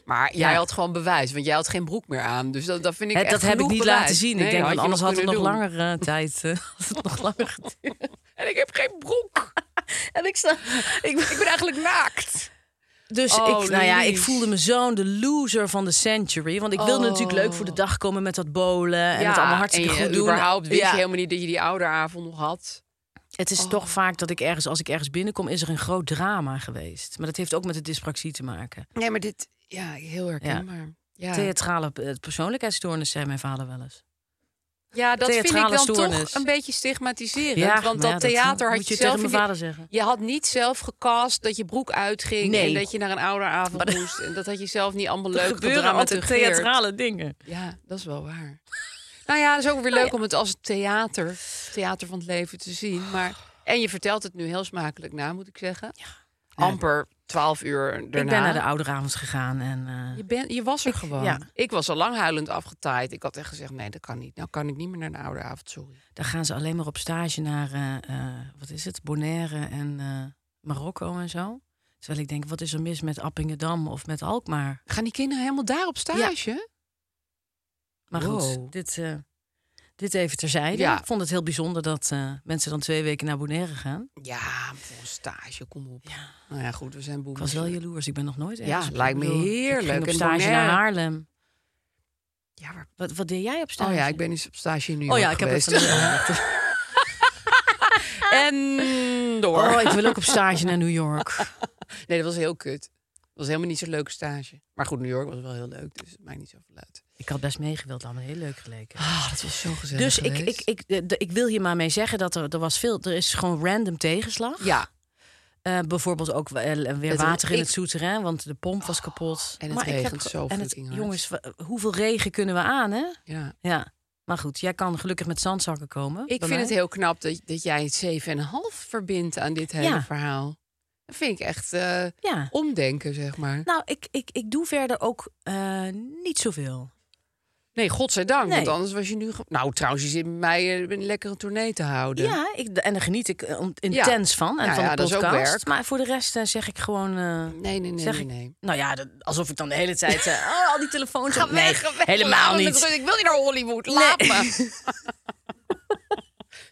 Maar jij Ja. had gewoon bewijs, want jij had geen broek meer aan. Dus dat, dat vind ik hè, echt dat heb ik genoeg niet bewijs. laten zien. Nee, ik denk, had want je anders had het nog kunnen doen. langer eh, tijd... eh, had het nog langer geduurd. En ik heb geen broek. En ik sta... Ik, Ik ben eigenlijk naakt. Dus Oh, ik, nou ja, ik Louise. voelde me zo'n de loser van de century. Want ik wilde natuurlijk leuk voor de dag komen met dat bowlen. En het allemaal hartstikke Oh. en je goed doen. überhaupt wist Ja. je Oh. helemaal niet dat je die ouderavond nog had. Het is toch vaak dat ik ergens, als ik ergens binnenkom, is er een groot drama geweest. Maar dat heeft ook met de dyspraxie te maken. Nee, maar dit, ja, heel herkenbaar. Ja, ja. Theatrale eh, persoonlijkheidsstoornis, zei mijn vader wel eens. dat vind ik theatrale dan stoornis. toch een beetje stigmatiserend. want nou ja, dat theater had moet je je zelf tegen mijn niet- vader zeggen. Je had niet zelf gecast dat je broek uitging Nee. en dat je naar een ouderavond moest. En dat had je zelf niet allemaal leuk gebeuren altijd gedramatiseerd. theatrale dingen. Ja, dat is wel waar. Nou ja, Oh. dat is ook weer leuk om het als theater, theater van het leven te zien. Maar, en je vertelt het nu heel smakelijk na, moet ik zeggen. Amper twaalf uur daarna. Ik ben naar de ouderavond gegaan en eh, je, ben, je was er gewoon. ja. Ik was al lang huilend afgetaaid. Ik had echt gezegd, nee, dat kan niet. Nou kan ik niet meer naar de oude avond, sorry. daar gaan ze alleen maar op stage naar, eh, eh, wat is het, Bonaire en eh, Marokko en zo. Terwijl ik denk, wat is er mis met Appingedam of met Alkmaar? Gaan die kinderen helemaal daar op stage? Maar Wow. goed, dit, eh, dit even terzijde. Ja. Ik vond het heel bijzonder dat eh, mensen dan twee weken naar Bonaire gaan. Ja, voor een stage, kom op. Nou ja, goed, we zijn boemers. Ik was wel jaloers, ik ben nog nooit ergens. Ja, op- lijkt me ik bedoel, Ik heerlijk. ging op En stage Bonaire. naar Haarlem. Ja, maar- Wat, wat deed jij op stage? Oh ja, ik ben eens op stage in New York Oh ja, ik heb het geweest. van En door. Oh, ik wil ook op stage naar New York. Nee, dat was heel kut. Dat was helemaal niet zo'n leuke stage. Maar goed, New York was wel heel leuk, dus het maakt niet zoveel uit. Ik had best meegewild, allemaal heel leuk geleken. Ah, dat was zo gezellig Dus ik, ik, ik, eh, d- ik wil hier maar mee zeggen dat er, er was veel, er is gewoon random tegenslag. Ja, Eh, bijvoorbeeld ook eh, weer Het- water in ik- Oh, het souterrain, want de pomp was kapot. en het ik heb regent ge- zo en het, fucking hard. Jongens, wa- hoeveel regen kunnen we aan, hè? ja. Ja. Maar goed, jij kan gelukkig met zandzakken komen. Ik bij vind het mij. heel knap dat, dat jij het 7,5 verbindt aan dit hele Ja. verhaal. Dat vind ik echt eh, Ja. omdenken, zeg maar. Nou, ik, ik, ik doe verder ook eh, niet zoveel. Nee, godzijdank, want Nee. anders was je nu... ge- Nou, trouwens, je zit met mij eh, een lekkere tournee te houden. Ja, ik, en daar geniet ik eh, on- intens van. En Nou van ja, de dat is ook podcast. werk. Maar voor de rest eh, zeg ik gewoon. eh, Nee, nee, nee, Zeg nee, ik- nee. Nou ja, dat- alsof ik dan de hele tijd. eh, oh, al die telefoons. op- Nee, weg, weg, laat helemaal me met niet. rust. Ik wil niet naar Hollywood. Laat me.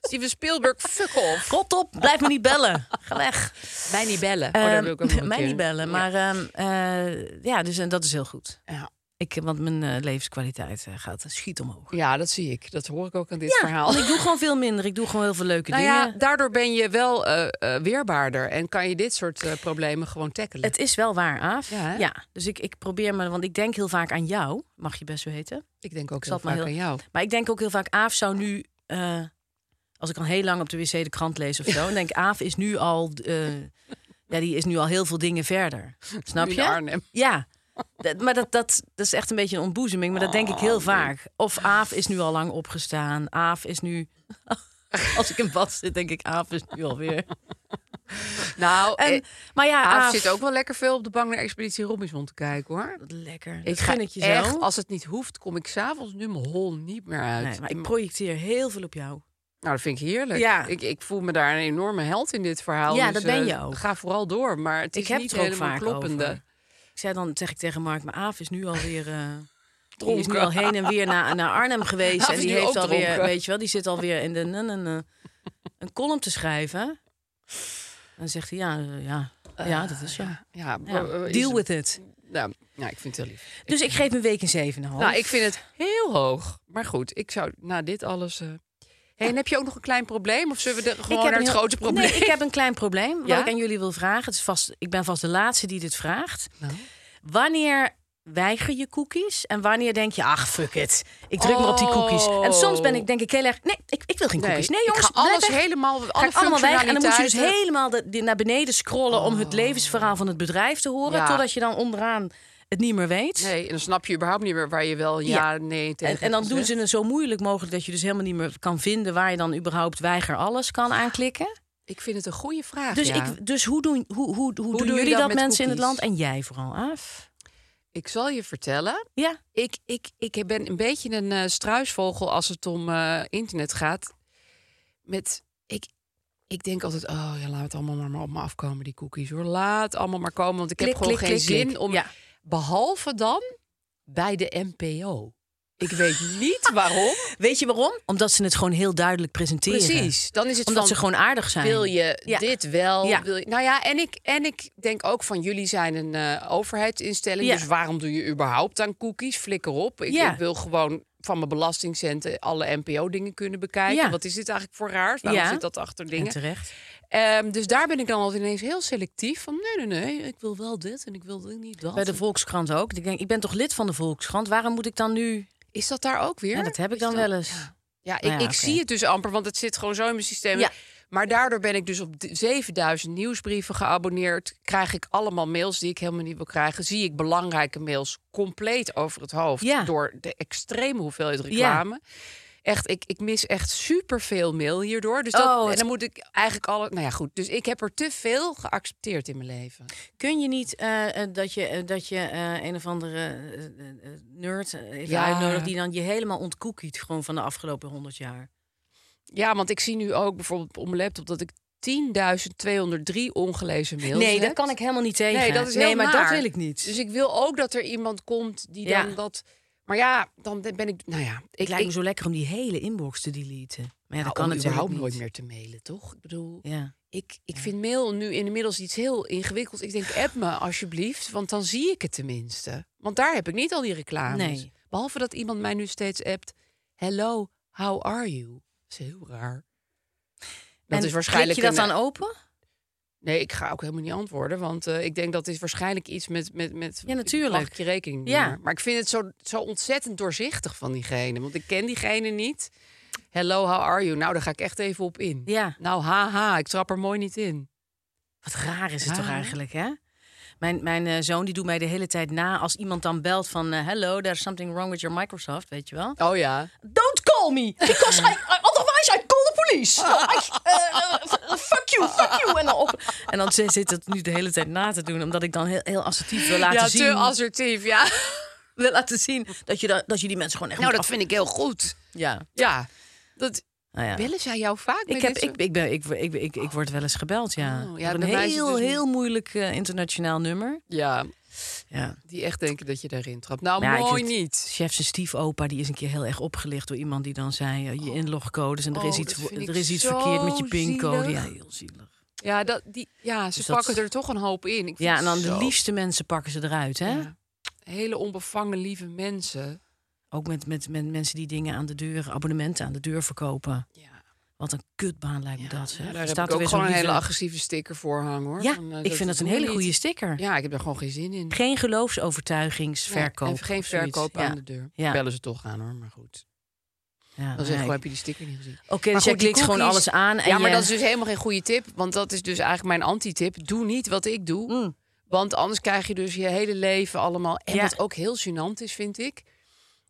Steven Spielberg, fuck off. Rot op, blijf me niet bellen. Ga weg. Mij niet bellen. Oh, Ehm, mij niet bellen. Maar ehm, eh, ja, dus en dat is heel goed. Ja. Ik, eh, want mijn eh, levenskwaliteit eh, gaat schiet omhoog. Ja, dat zie ik. Dat hoor ik ook aan dit verhaal. want ik doe gewoon veel minder. Ik doe gewoon heel veel leuke Nou dingen. ja, daardoor ben je wel eh, eh, weerbaarder en kan je dit soort eh, problemen gewoon tackelen. Het is wel waar, Aaf. Ja, hè? dus ik, ik probeer me, want ik denk heel vaak aan jou, mag je best weten. ik denk ook heel zal het maar vaak aan heel- jou. Maar ik denk ook heel vaak, Aaf zou nu, eh, als ik al heel lang op de wc de krant lees of zo, dan denk ik, Aaf is nu al, eh, ja, die is nu al heel veel dingen verder. Snap Nu je? in Arnhem. Ja. Dat- maar dat, dat, dat is echt een beetje een ontboezeming, maar dat denk Oh, ik heel vaak. Of Aaf is nu al lang opgestaan. Aaf is nu. Als ik in bad zit, denk ik, Aaf is nu alweer. Nou, En, eh, maar ja, Aaf, Aaf, zit ook wel lekker veel op de bank naar Expeditie Robinson te kijken, hoor. Lekker. Ik Ik ga gun het je echt, zo. als het niet hoeft, kom ik s'avonds nu mijn hol niet meer uit. Nee, maar ik projecteer heel veel op jou. Nou, dat vind ik heerlijk. Ja. Ik, ik voel me daar een enorme held in dit verhaal. Ja, dus, dat ben eh, je ook. Ga vooral door, maar het is Ik heb niet het er ook helemaal vaak kloppende. over. Ik zei dan zeg ik tegen Mark, maar Aaf is nu alweer. eh die is Dronken. nu al heen en weer naar, naar Arnhem geweest. Aaf en is die nu heeft ook alweer, dronken. weet je wel, die zit alweer in de. na, na, na, een column te schrijven. En dan zegt hij, ja, eh, ja, ja dat is zo. Ja, ja, Ja, eh, eh, is Deal het- with Oh. it. Nou, nou, ik vind het heel lief. Dus ik geef een week een 7,5. Nou, ik vind het heel hoog. Maar goed, ik zou na dit alles... eh, Hey, en heb je ook nog een klein probleem? Of zullen we er Ik gewoon heb naar een het heel- grote probleem? Nee, ik heb een klein probleem Ja? wat ik aan jullie wil vragen. Het is vast, ik ben vast de laatste die dit vraagt. Nou? Wanneer weiger je cookies en wanneer denk je, ach, fuck it. Ik druk maar op die cookies. En soms ben ik denk ik heel erg, nee, ik, ik wil geen cookies. Nee, jongens, ik ga alles blijf weg. helemaal... Ga Alle eh, ik allemaal weg. En dan moet je dus functionaliteiten. helemaal de, die- naar beneden scrollen om het levensverhaal van het bedrijf te horen. Oh. Ja. Totdat je dan onderaan het niet meer weet. Nee, en dan snap je überhaupt niet meer waar je wel ja, nee tegen En, en hebt dan doen gezegd. ze het zo moeilijk mogelijk dat je dus helemaal niet meer kan vinden waar je dan überhaupt weiger alles kan aanklikken. Ik vind het een goede vraag. Dus, ja. ik, dus hoe doen, hoe, hoe, hoe doen doe je jullie dat dat, met mensen in het land cookies? en jij vooral af? ik zal je vertellen. Ja. Ik, ik, ik ben een beetje een eh, struisvogel als het om eh, internet gaat. Met, ik, ik denk altijd, oh ja, laat het allemaal maar, maar op me afkomen, die cookies hoor. Laat allemaal maar komen, want ik heb Klik, gewoon klik, geen klik, zin klik. om... Ja. Behalve dan bij de NPO. Ik weet niet waarom. Weet je waarom? Omdat ze het gewoon heel duidelijk presenteren. Precies, dan is het Omdat van, ze gewoon aardig zijn. Wil je Ja. dit wel? Ja. Wil je, nou ja, en ik, en ik denk ook van jullie zijn een eh, overheidsinstelling. Ja. Dus waarom doe je überhaupt aan cookies? Flikker op. Ik, Ja. ik wil gewoon van mijn belastingcenten alle NPO-dingen kunnen bekijken. Ja. Wat is dit eigenlijk voor raars? Waarom Ja. eh, zit dat achter En dingen? terecht. Ehm, dus daar ben ik dan altijd ineens heel selectief van. Nee, nee, nee, ik wil wel dit en ik wil niet dat. Bij de Volkskrant ook. Ik denk, ik ben toch lid van de Volkskrant? Waarom moet ik dan nu... Is dat daar ook weer? Ja, dat heb ik Is dan dat- wel eens. Ja, ik, Nou ja, ik oké. zie het dus amper, want het zit gewoon zo in mijn systeem. Ja. Maar daardoor ben ik dus op d- 7000 nieuwsbrieven geabonneerd. Krijg ik allemaal mails die ik helemaal niet wil krijgen. Zie ik belangrijke mails compleet over het hoofd. Ja. Door de extreme hoeveelheid reclame. Echt, ik, ik mis echt superveel mail hierdoor. Dus dat, Oh, het- en dan moet ik eigenlijk alle... Nou ja, goed. Dus ik heb er te veel geaccepteerd in mijn leven. Kun je niet eh, eh, dat je, eh, dat je eh, een of andere eh, eh, eh, nerd eh, even Ja. uitnodigt... die dan je helemaal ontkoekiet gewoon van de afgelopen honderd jaar? Ja, want ik zie nu ook bijvoorbeeld op mijn laptop... dat ik 10.203 ongelezen mails nee, heb. dat kan ik helemaal niet tegen. Nee, dat is nee heel maar dat naar. wil ik niet. Dus ik wil ook dat er iemand komt die Ja. dan dat. Maar ja, dan ben ik. Nou ja, ik, het lijkt me ik- zo lekker om die hele inbox te deleten. Maar nou, ja, dat kan om natuurlijk überhaupt niet. nooit meer te mailen, toch? Ik bedoel, Ja. ik, ik vind mail nu inmiddels iets heel ingewikkeld. Ik denk, app me alsjeblieft, want dan zie ik het tenminste. Want daar heb ik niet al die reclames. Nee. Behalve dat iemand mij nu steeds appt: Hello, how are you? Dat is heel raar. Dat en is waarschijnlijk klik je dat een- dan open? Nee, ik ga ook helemaal niet antwoorden, want eh, ik denk dat is waarschijnlijk iets met met met. Ja, natuurlijk. Mag ik je rekening? Ja. Ja. Maar ik vind het zo zo ontzettend doorzichtig van diegene, want ik ken diegene niet. Hello, how are you? Nou, daar ga ik echt even op in. Ja. Nou, haha, ik trap er mooi niet in. Wat raar is het Ja, toch hè? eigenlijk, hè? Mijn, mijn eh, zoon die doet mij de hele tijd na als iemand dan belt van... eh, Hello, there's something wrong with your Microsoft, weet je wel? Oh ja. Don't call me, because I, I- otherwise I call the police. I- eh, eh, fuck you, fuck you. En dan, op. En dan zit zit het nu de hele tijd na te doen, omdat ik dan heel, heel assertief wil laten ja, zien... te assertief, ja. Wil laten zien dat je, dat, dat je die mensen gewoon echt nou, moet dat vind ik heel goed. af- Ja, Ja. Dat nou ja. bellen zij jou vaak met Ik, heb, dit soort- ik, ik, ben, ik, ik, ik, ik word wel eens gebeld, ja. Oh, Door ja, een bij mij is het heel, dus niet. heel moeilijk eh, internationaal nummer. Ja, Ja. die echt denken dat je daarin trapt. Nou, Maar ja, ik mooi vind- niet. Chef zijn stiefopa die is een keer heel erg opgelicht door iemand die dan zei... eh, je inlogcodes en er is Oh, iets, dat vind ik er is iets zo verkeerd met je pincode. zielig. Ja, heel zielig. Ja, dat, die, ja ze Dus dat- pakken er toch een hoop in. Ik vind Ja, en dan de zo- liefste mensen pakken ze eruit, hè? Ja. Hele onbevangen, lieve mensen. Ook met, met, met mensen die dingen aan de deur, abonnementen aan de deur verkopen. Ja, Wat een kutbaan lijkt me dat, ja, zeg. daar Er heb staat ik ook er weer zo'n gewoon een hele lieve- agressieve sticker voor hangen, hoor. Ja, Van, eh, ik vind dat een doen we hele niet. goede sticker. Ja, ik heb daar gewoon geen zin in. Geen Nee, geloofsovertuigingsverkoop. en geen of zoiets. verkoop Ja. aan de deur. Ja. Bellen ze toch aan, hoor. Maar goed. Ja, Dan zeg nee. ik, heb je die sticker niet gezien? Oké, Maar dus jij goed, die klikt gewoon cookies- alles aan. En ja, maar je- dat is dus helemaal geen goede tip. Want dat is dus eigenlijk mijn anti-tip. Doe niet wat ik doe. Mm. Want anders krijg je dus je hele leven allemaal. En Ja. wat ook heel gênant is, vind ik.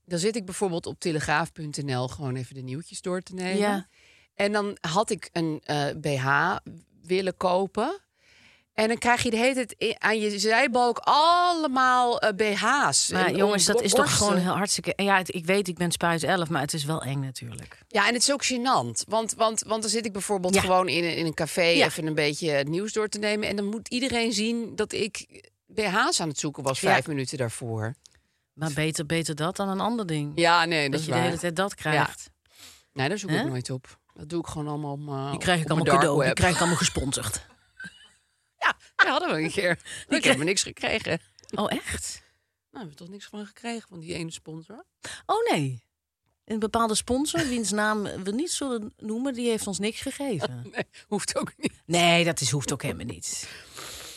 Dan zit ik bijvoorbeeld op telegraaf.nl gewoon even de nieuwtjes door te nemen. Ja. En dan had ik een eh, BH willen kopen. En dan krijg je de hele tijd i- aan je zijbalk allemaal eh, BH's. Maar En jongens, om- dat is toch borsten. gewoon heel hartstikke... en Ja, het- ik weet, ik ben spuit 11, maar het is wel eng natuurlijk. Ja, en het is ook gênant. Want, want, want dan zit ik bijvoorbeeld Ja. gewoon in, een- in een café Ja. even een beetje het nieuws door te nemen. En dan moet iedereen zien dat ik BH's aan het zoeken was Ja. vijf minuten daarvoor. Maar beter, beter dat dan een ander ding. Ja, nee, dat, dat is je waar. Oh, de hele tijd dat krijgt. Nee, daar zoek Hè? ik nooit op. Dat doe ik gewoon allemaal op mijn- Die krijg ik op mijn allemaal dark cadeau, die web. krijg ik allemaal gesponsord. Ja, dat hadden we een keer. Ik heb krijg- me niks gekregen. Nou, Oh, echt? we hebben toch niks van gekregen van die ene sponsor. Oh, nee. Een bepaalde sponsor, wiens naam we niet zullen noemen... die heeft ons niks gegeven. Nee, hoeft ook niet. Nee, dat is, hoeft ook helemaal niet.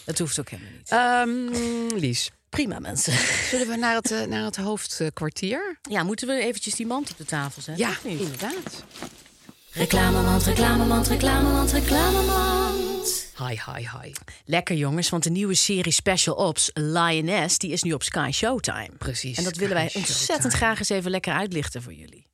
Dat hoeft ook helemaal niet. Lies, Prima, mensen. zullen we naar het, eh, naar het hoofdkwartier? Ja, moeten we eventjes die mand op de tafel zetten? Ja, of niet? inderdaad. Reclamemand, reclamemand, reclamemand, reclamemand. Hi, hi, hi. Lekker jongens, want de nieuwe serie Special Ops, Lioness, die is nu op Sky Showtime. Precies. En dat willen wij Sky ontzettend Showtime. graag eens even lekker uitlichten voor jullie.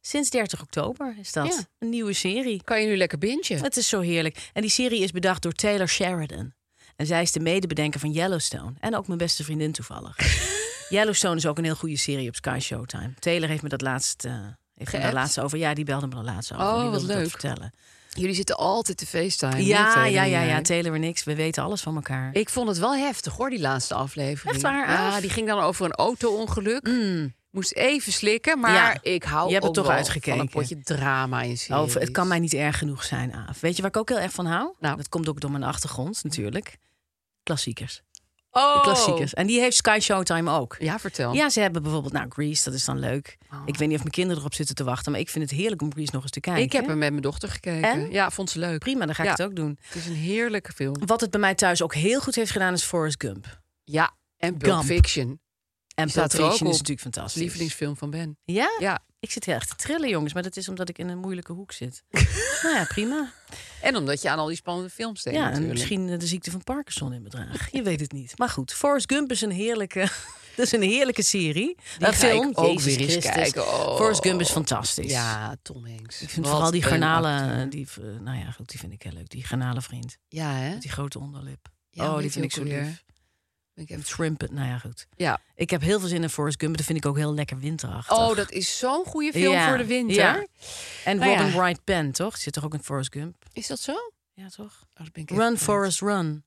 Sinds 30 oktober is dat Ja. een nieuwe serie. Kan je nu lekker bintje? Het is zo heerlijk. En die serie is bedacht door Taylor Sheridan. En zij is de medebedenker van Yellowstone. En ook mijn beste vriendin toevallig. Yellowstone is ook een heel goede serie op Sky Showtime. Taylor heeft me dat laatst, eh, heeft me daar Geappt? laatst over. Ja, die belde me daar laatst over. Oh, die wilde wat dat leuk. vertellen. Jullie zitten altijd te eh, feesten. ja, ja, ja, ja. Taylor en ik, we weten alles van elkaar. Ik vond het wel heftig hoor, die laatste aflevering. Echt waar, Ja, Aaf? die ging dan over een auto-ongeluk. Moest even slikken, maar Ja. ik hou Je hebt het ook toch wel uitgekeken? van een potje drama in series. Of het kan mij niet erg genoeg zijn, Aaf. Weet je waar ik ook heel erg van hou? Nou. Dat komt ook door mijn achtergrond natuurlijk. Klassiekers. Oh. De klassiekers. En die heeft Sky Showtime ook. Ja, Oh. vertel. Ja, ze hebben bijvoorbeeld, nou, Grease, dat is dan leuk. Ik weet niet of mijn kinderen erop zitten te wachten, maar ik vind het heerlijk om Grease nog eens te kijken. ik heb hem met mijn dochter gekeken. En? Ja, vond ze leuk. Prima, dan ga ik Ja. het ook doen. Het is een heerlijke film. Wat het bij mij thuis ook heel goed heeft gedaan is Forrest Gump. Ja, en Pulp Gump. Fiction. En staat Pulp er ook Fiction is op. natuurlijk fantastisch. Lievelingsfilm van Ben. Ja? Ja, Ik zit heel erg te trillen, jongens, maar dat is omdat ik in een moeilijke hoek zit. nou ja, prima. en omdat je aan al die spannende films denkt Ja, en natuurlijk. misschien eh, de ziekte van Parkinson in bedrag. Je weet het niet. Maar goed, Forrest Gump is een heerlijke, dat is een heerlijke serie. Die Eh, ga film. ik ook Jezus weer eens Christus. kijken. Oh. Forrest Gump is fantastisch. Ja, Tom Hanks. Ik vind vooral die garnalen, eh, die, eh, nou ja, goed, die vind ik heel leuk. Die garnalenvriend, Ja, hè? met die grote onderlip. Ja, hoe oh, die heet vind ik die zo ook alweer? lief. Ben ik Het even- shrimpet, nou ja, goed. Ja. Ik heb heel veel zin in Forrest Gump, maar dat vind ik ook heel lekker winterachtig. Oh, dat is zo'n goede film Ja, voor de winter. ja. En Nou Robin ja. Wright Penn, toch? Zit toch ook in Forrest Gump? Is dat zo? Oh, Ja, toch? dat ben ik even Run, kwijt. Forrest, run.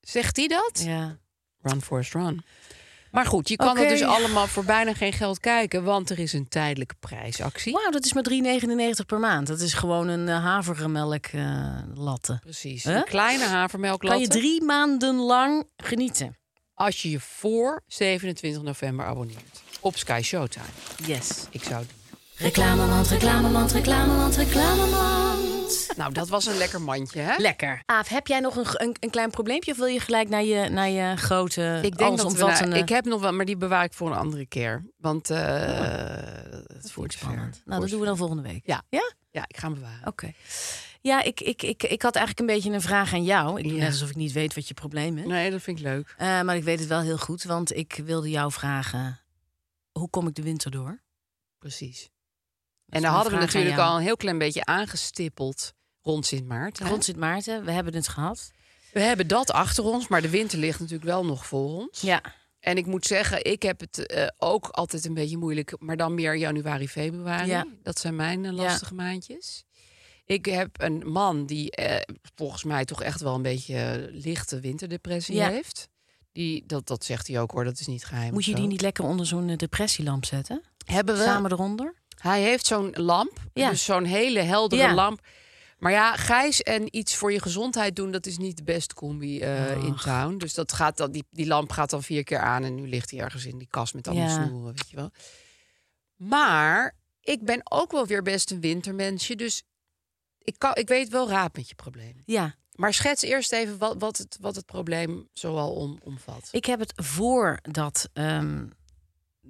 Zegt hij dat? Ja. Run Forrest Run. Maar goed, je kan Oké. dat dus allemaal voor bijna geen geld kijken, want er is een tijdelijke prijsactie. Wauw, dat is maar 3,99 per maand. Dat is gewoon een eh, havermelk eh, latte. Precies. Huh? Een kleine havermelklatte. Kan je drie maanden lang genieten. Als je je voor 27 november abonneert op Sky Showtime. Yes. Ik zou het doen. Reclamemand, reclamemand, reclamemand, reclamemand. Nou, dat was een lekker mandje, hè? Lekker. Aaf, heb jij nog een, g- een, een klein probleempje of wil je gelijk naar je, naar je grote, ik denk dat we nou- allesomvattende... ik heb nog wel, maar die bewaar ik voor een andere keer. Want eh dat voelt Spannend. Nou, Oh, dat doen we dan volgende week. Ja. Ja? Ja, ik ga hem bewaren. Oké. Ja, ik, ik, ik, ik had eigenlijk een beetje een vraag aan jou. Ik doe Ja. net alsof ik niet weet wat je probleem is. Nee, dat vind ik leuk. Eh, maar ik weet het wel heel goed, want ik wilde jou vragen... hoe kom ik de winter door? Precies. is En daar mijn hadden we vraag aan natuurlijk jou. al een heel klein beetje aangestippeld rond Sint Maarten. hè? Rond Sint Maarten, we hebben het gehad. We hebben dat achter ons, maar de winter ligt natuurlijk wel nog voor ons. Ja. En ik moet zeggen, ik heb het eh, ook altijd een beetje moeilijk, maar dan meer januari, februari. Ja. Dat zijn mijn eh, lastige maandjes. Ik heb een man die eh, volgens mij toch echt wel een beetje eh, lichte winterdepressie Ja. heeft. Die, dat, dat zegt hij ook hoor, dat is niet geheim. Moet of je die zo. niet lekker onder zo'n eh, depressielamp zetten? hebben we? Samen eronder? Hij heeft zo'n lamp, Ja. dus zo'n hele heldere Ja. lamp. Maar ja, gijs en iets voor je gezondheid doen, dat is niet de beste combi eh, in town. Dus dat gaat dan, die, die lamp gaat dan vier keer aan en nu ligt hij ergens in die kast met allemaal Ja. snoeren, weet je wel. Maar ik ben ook wel weer best een wintermensje, dus ik, kan, ik weet wel raad met je probleem. Ja. Maar schets eerst even wat, wat, het, wat het probleem zoal om, omvat. Ik heb het voordat ehm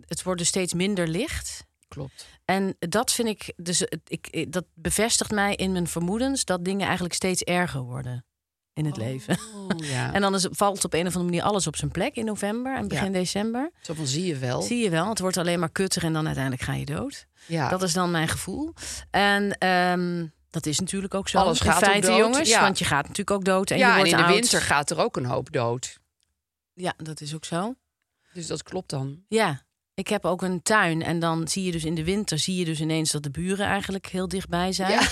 het wordt dus steeds minder licht. Klopt. En dat vind ik, dus het- ik, ik- dat bevestigt mij in mijn vermoedens dat dingen eigenlijk steeds erger worden in het leven. Oh, ja. En dan is, valt op een of andere manier alles op zijn plek in november en begin Ja. december. Zo van zie je wel. Zie je wel, het wordt alleen maar kutter en dan uiteindelijk ga je dood. ja. Dat is dan mijn gevoel. En ehm, dat is natuurlijk ook zo. Alles in gaat ook feite, dood, jongens, ja. want je gaat natuurlijk ook dood en ja, je en wordt in de oud. winter gaat er ook een hoop dood. Ja, dat is ook zo. Dus dat klopt dan. Ja, ik heb ook een tuin. En dan zie je dus in de winter zie je dus ineens dat de buren eigenlijk heel dichtbij zijn. Ja.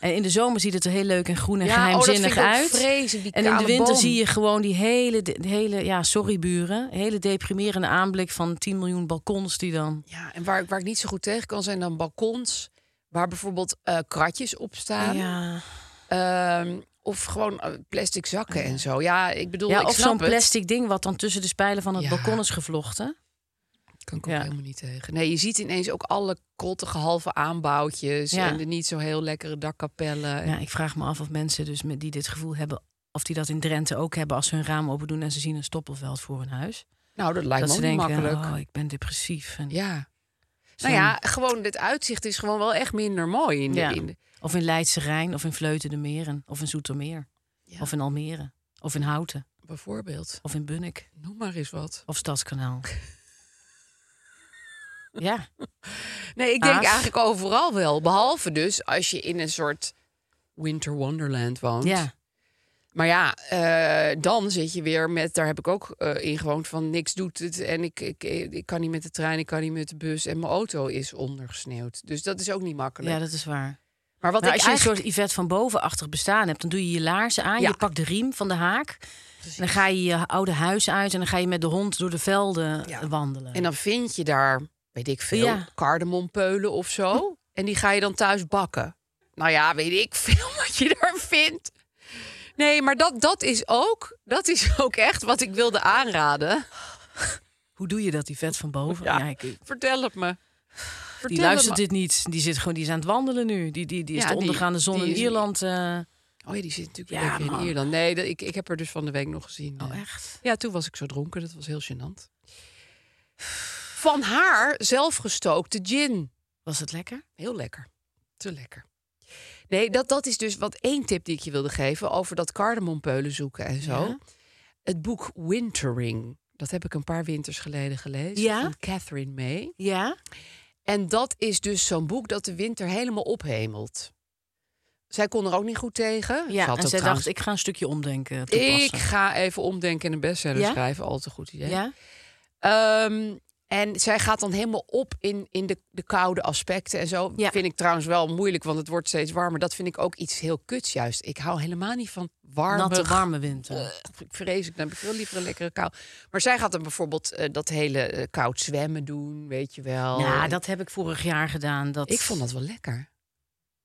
En in de zomer ziet het er heel leuk en groen en Ja, oh, dat vind ik geheimzinnig ook uit. vreselijk, die en in de kale winter boom. zie je gewoon die hele, de hele, ja, sorry buren, hele deprimerende aanblik van 10 miljoen balkons die dan. Ja, en waar, waar ik niet zo goed tegen kan zijn dan balkons... waar bijvoorbeeld eh, kratjes op staan. Ja, Ehm, of gewoon eh, plastic zakken en zo. Ja, ik bedoel, ja ik of snap zo'n het. plastic ding wat dan tussen de spijlen van het Ja. balkon is gevlochten. Kan ik ook Ja. helemaal niet tegen. Nee, je ziet ineens ook alle krottige halve aanbouwtjes... Ja. en de niet zo heel lekkere dakkapellen. Ja, ik vraag me af of mensen dus met, die dit gevoel hebben, of die dat in Drenthe ook hebben als ze hun raam open doen en ze zien een stoppelveld voor hun huis. Nou, dat lijkt dat me ze ook niet denken, makkelijk. oh, ik ben depressief. En Ja. zo'n- Nou ja, gewoon dit uitzicht is gewoon wel echt minder mooi. In de, Ja. in de- Of in Leidse Rijn, of in Vleuten de Meren, of in Zoetermeer, Ja. of in Almere, of in Houten, bijvoorbeeld, of in Bunnik, noem maar eens wat. of Stadskanaal. ja, Nee, ik denk Aas. eigenlijk overal wel. Behalve dus als je in een soort winter wonderland woont. Ja. Maar ja, eh, dan zit je weer met, daar heb ik ook eh, in gewoond van niks doet het. En ik, ik, eh, ik kan niet met de trein, ik kan niet met de bus. En mijn auto is ondergesneeuwd. Dus dat is ook niet makkelijk. ja, dat is waar. maar wat Maar ik Nou, als je eigenlijk... een soort Yvette van bovenachtig bestaan hebt, dan doe je je laarzen aan, Ja. je pakt de riem van de haak. En dan ga je je oude huis uit en dan ga je met de hond door de velden Ja. wandelen. En dan vind je daar, weet ik veel, Ja. kardemompeulen of zo. En die ga je dan thuis bakken. Nou ja, weet ik veel wat je daar vindt. Nee, maar dat, dat, is ook, dat is ook echt wat ik wilde aanraden. Hoe doe je dat, Yvette van boven? Ja. Ja, ik- Vertel het me. die Vertel luistert het me. dit niet. Die, zit gewoon, die is aan het wandelen nu. Die, die, die is Ja, de die- ondergaande zon die in is- Ierland. eh, Oh ja, die zit natuurlijk Ja, weer lekker man. in Ierland. Nee, dat- ik, ik heb haar dus van de week nog gezien. eh. echt? Ja, toen was ik zo dronken. Dat was heel gênant. Van haar zelfgestookte gin. Was het lekker? Heel lekker. Te lekker. Nee, dat, dat is dus wat één tip die ik je wilde geven over dat kardemompeulen zoeken en zo. Ja. Het boek Wintering. Dat heb ik een paar winters geleden gelezen Ja? van Catherine May. Ja. En dat is dus zo'n boek dat de winter helemaal ophemelt. Zij kon er ook niet goed tegen. ja. Ze had En ook zij trouwens- dacht, ik ga een stukje omdenken toepassen. ik ga even omdenken en een bestseller Ja? schrijven. Al te goed idee. Ja? Ehm, en zij gaat dan helemaal op in, in de, de koude aspecten en zo. Ja. Vind ik trouwens wel moeilijk, want het wordt steeds warmer. Dat vind ik ook iets heel kuts juist. Ik hou helemaal niet van warme... Eh. Natte, warme winter. Ugh, ik vrees, Nou, ik dan heb ik veel liever een lekkere kou. Maar zij gaat dan bijvoorbeeld eh, dat hele eh, koud zwemmen doen, weet je wel. Ja, En Nou, dat heb ik vorig jaar gedaan. Dat... Ik vond dat wel lekker.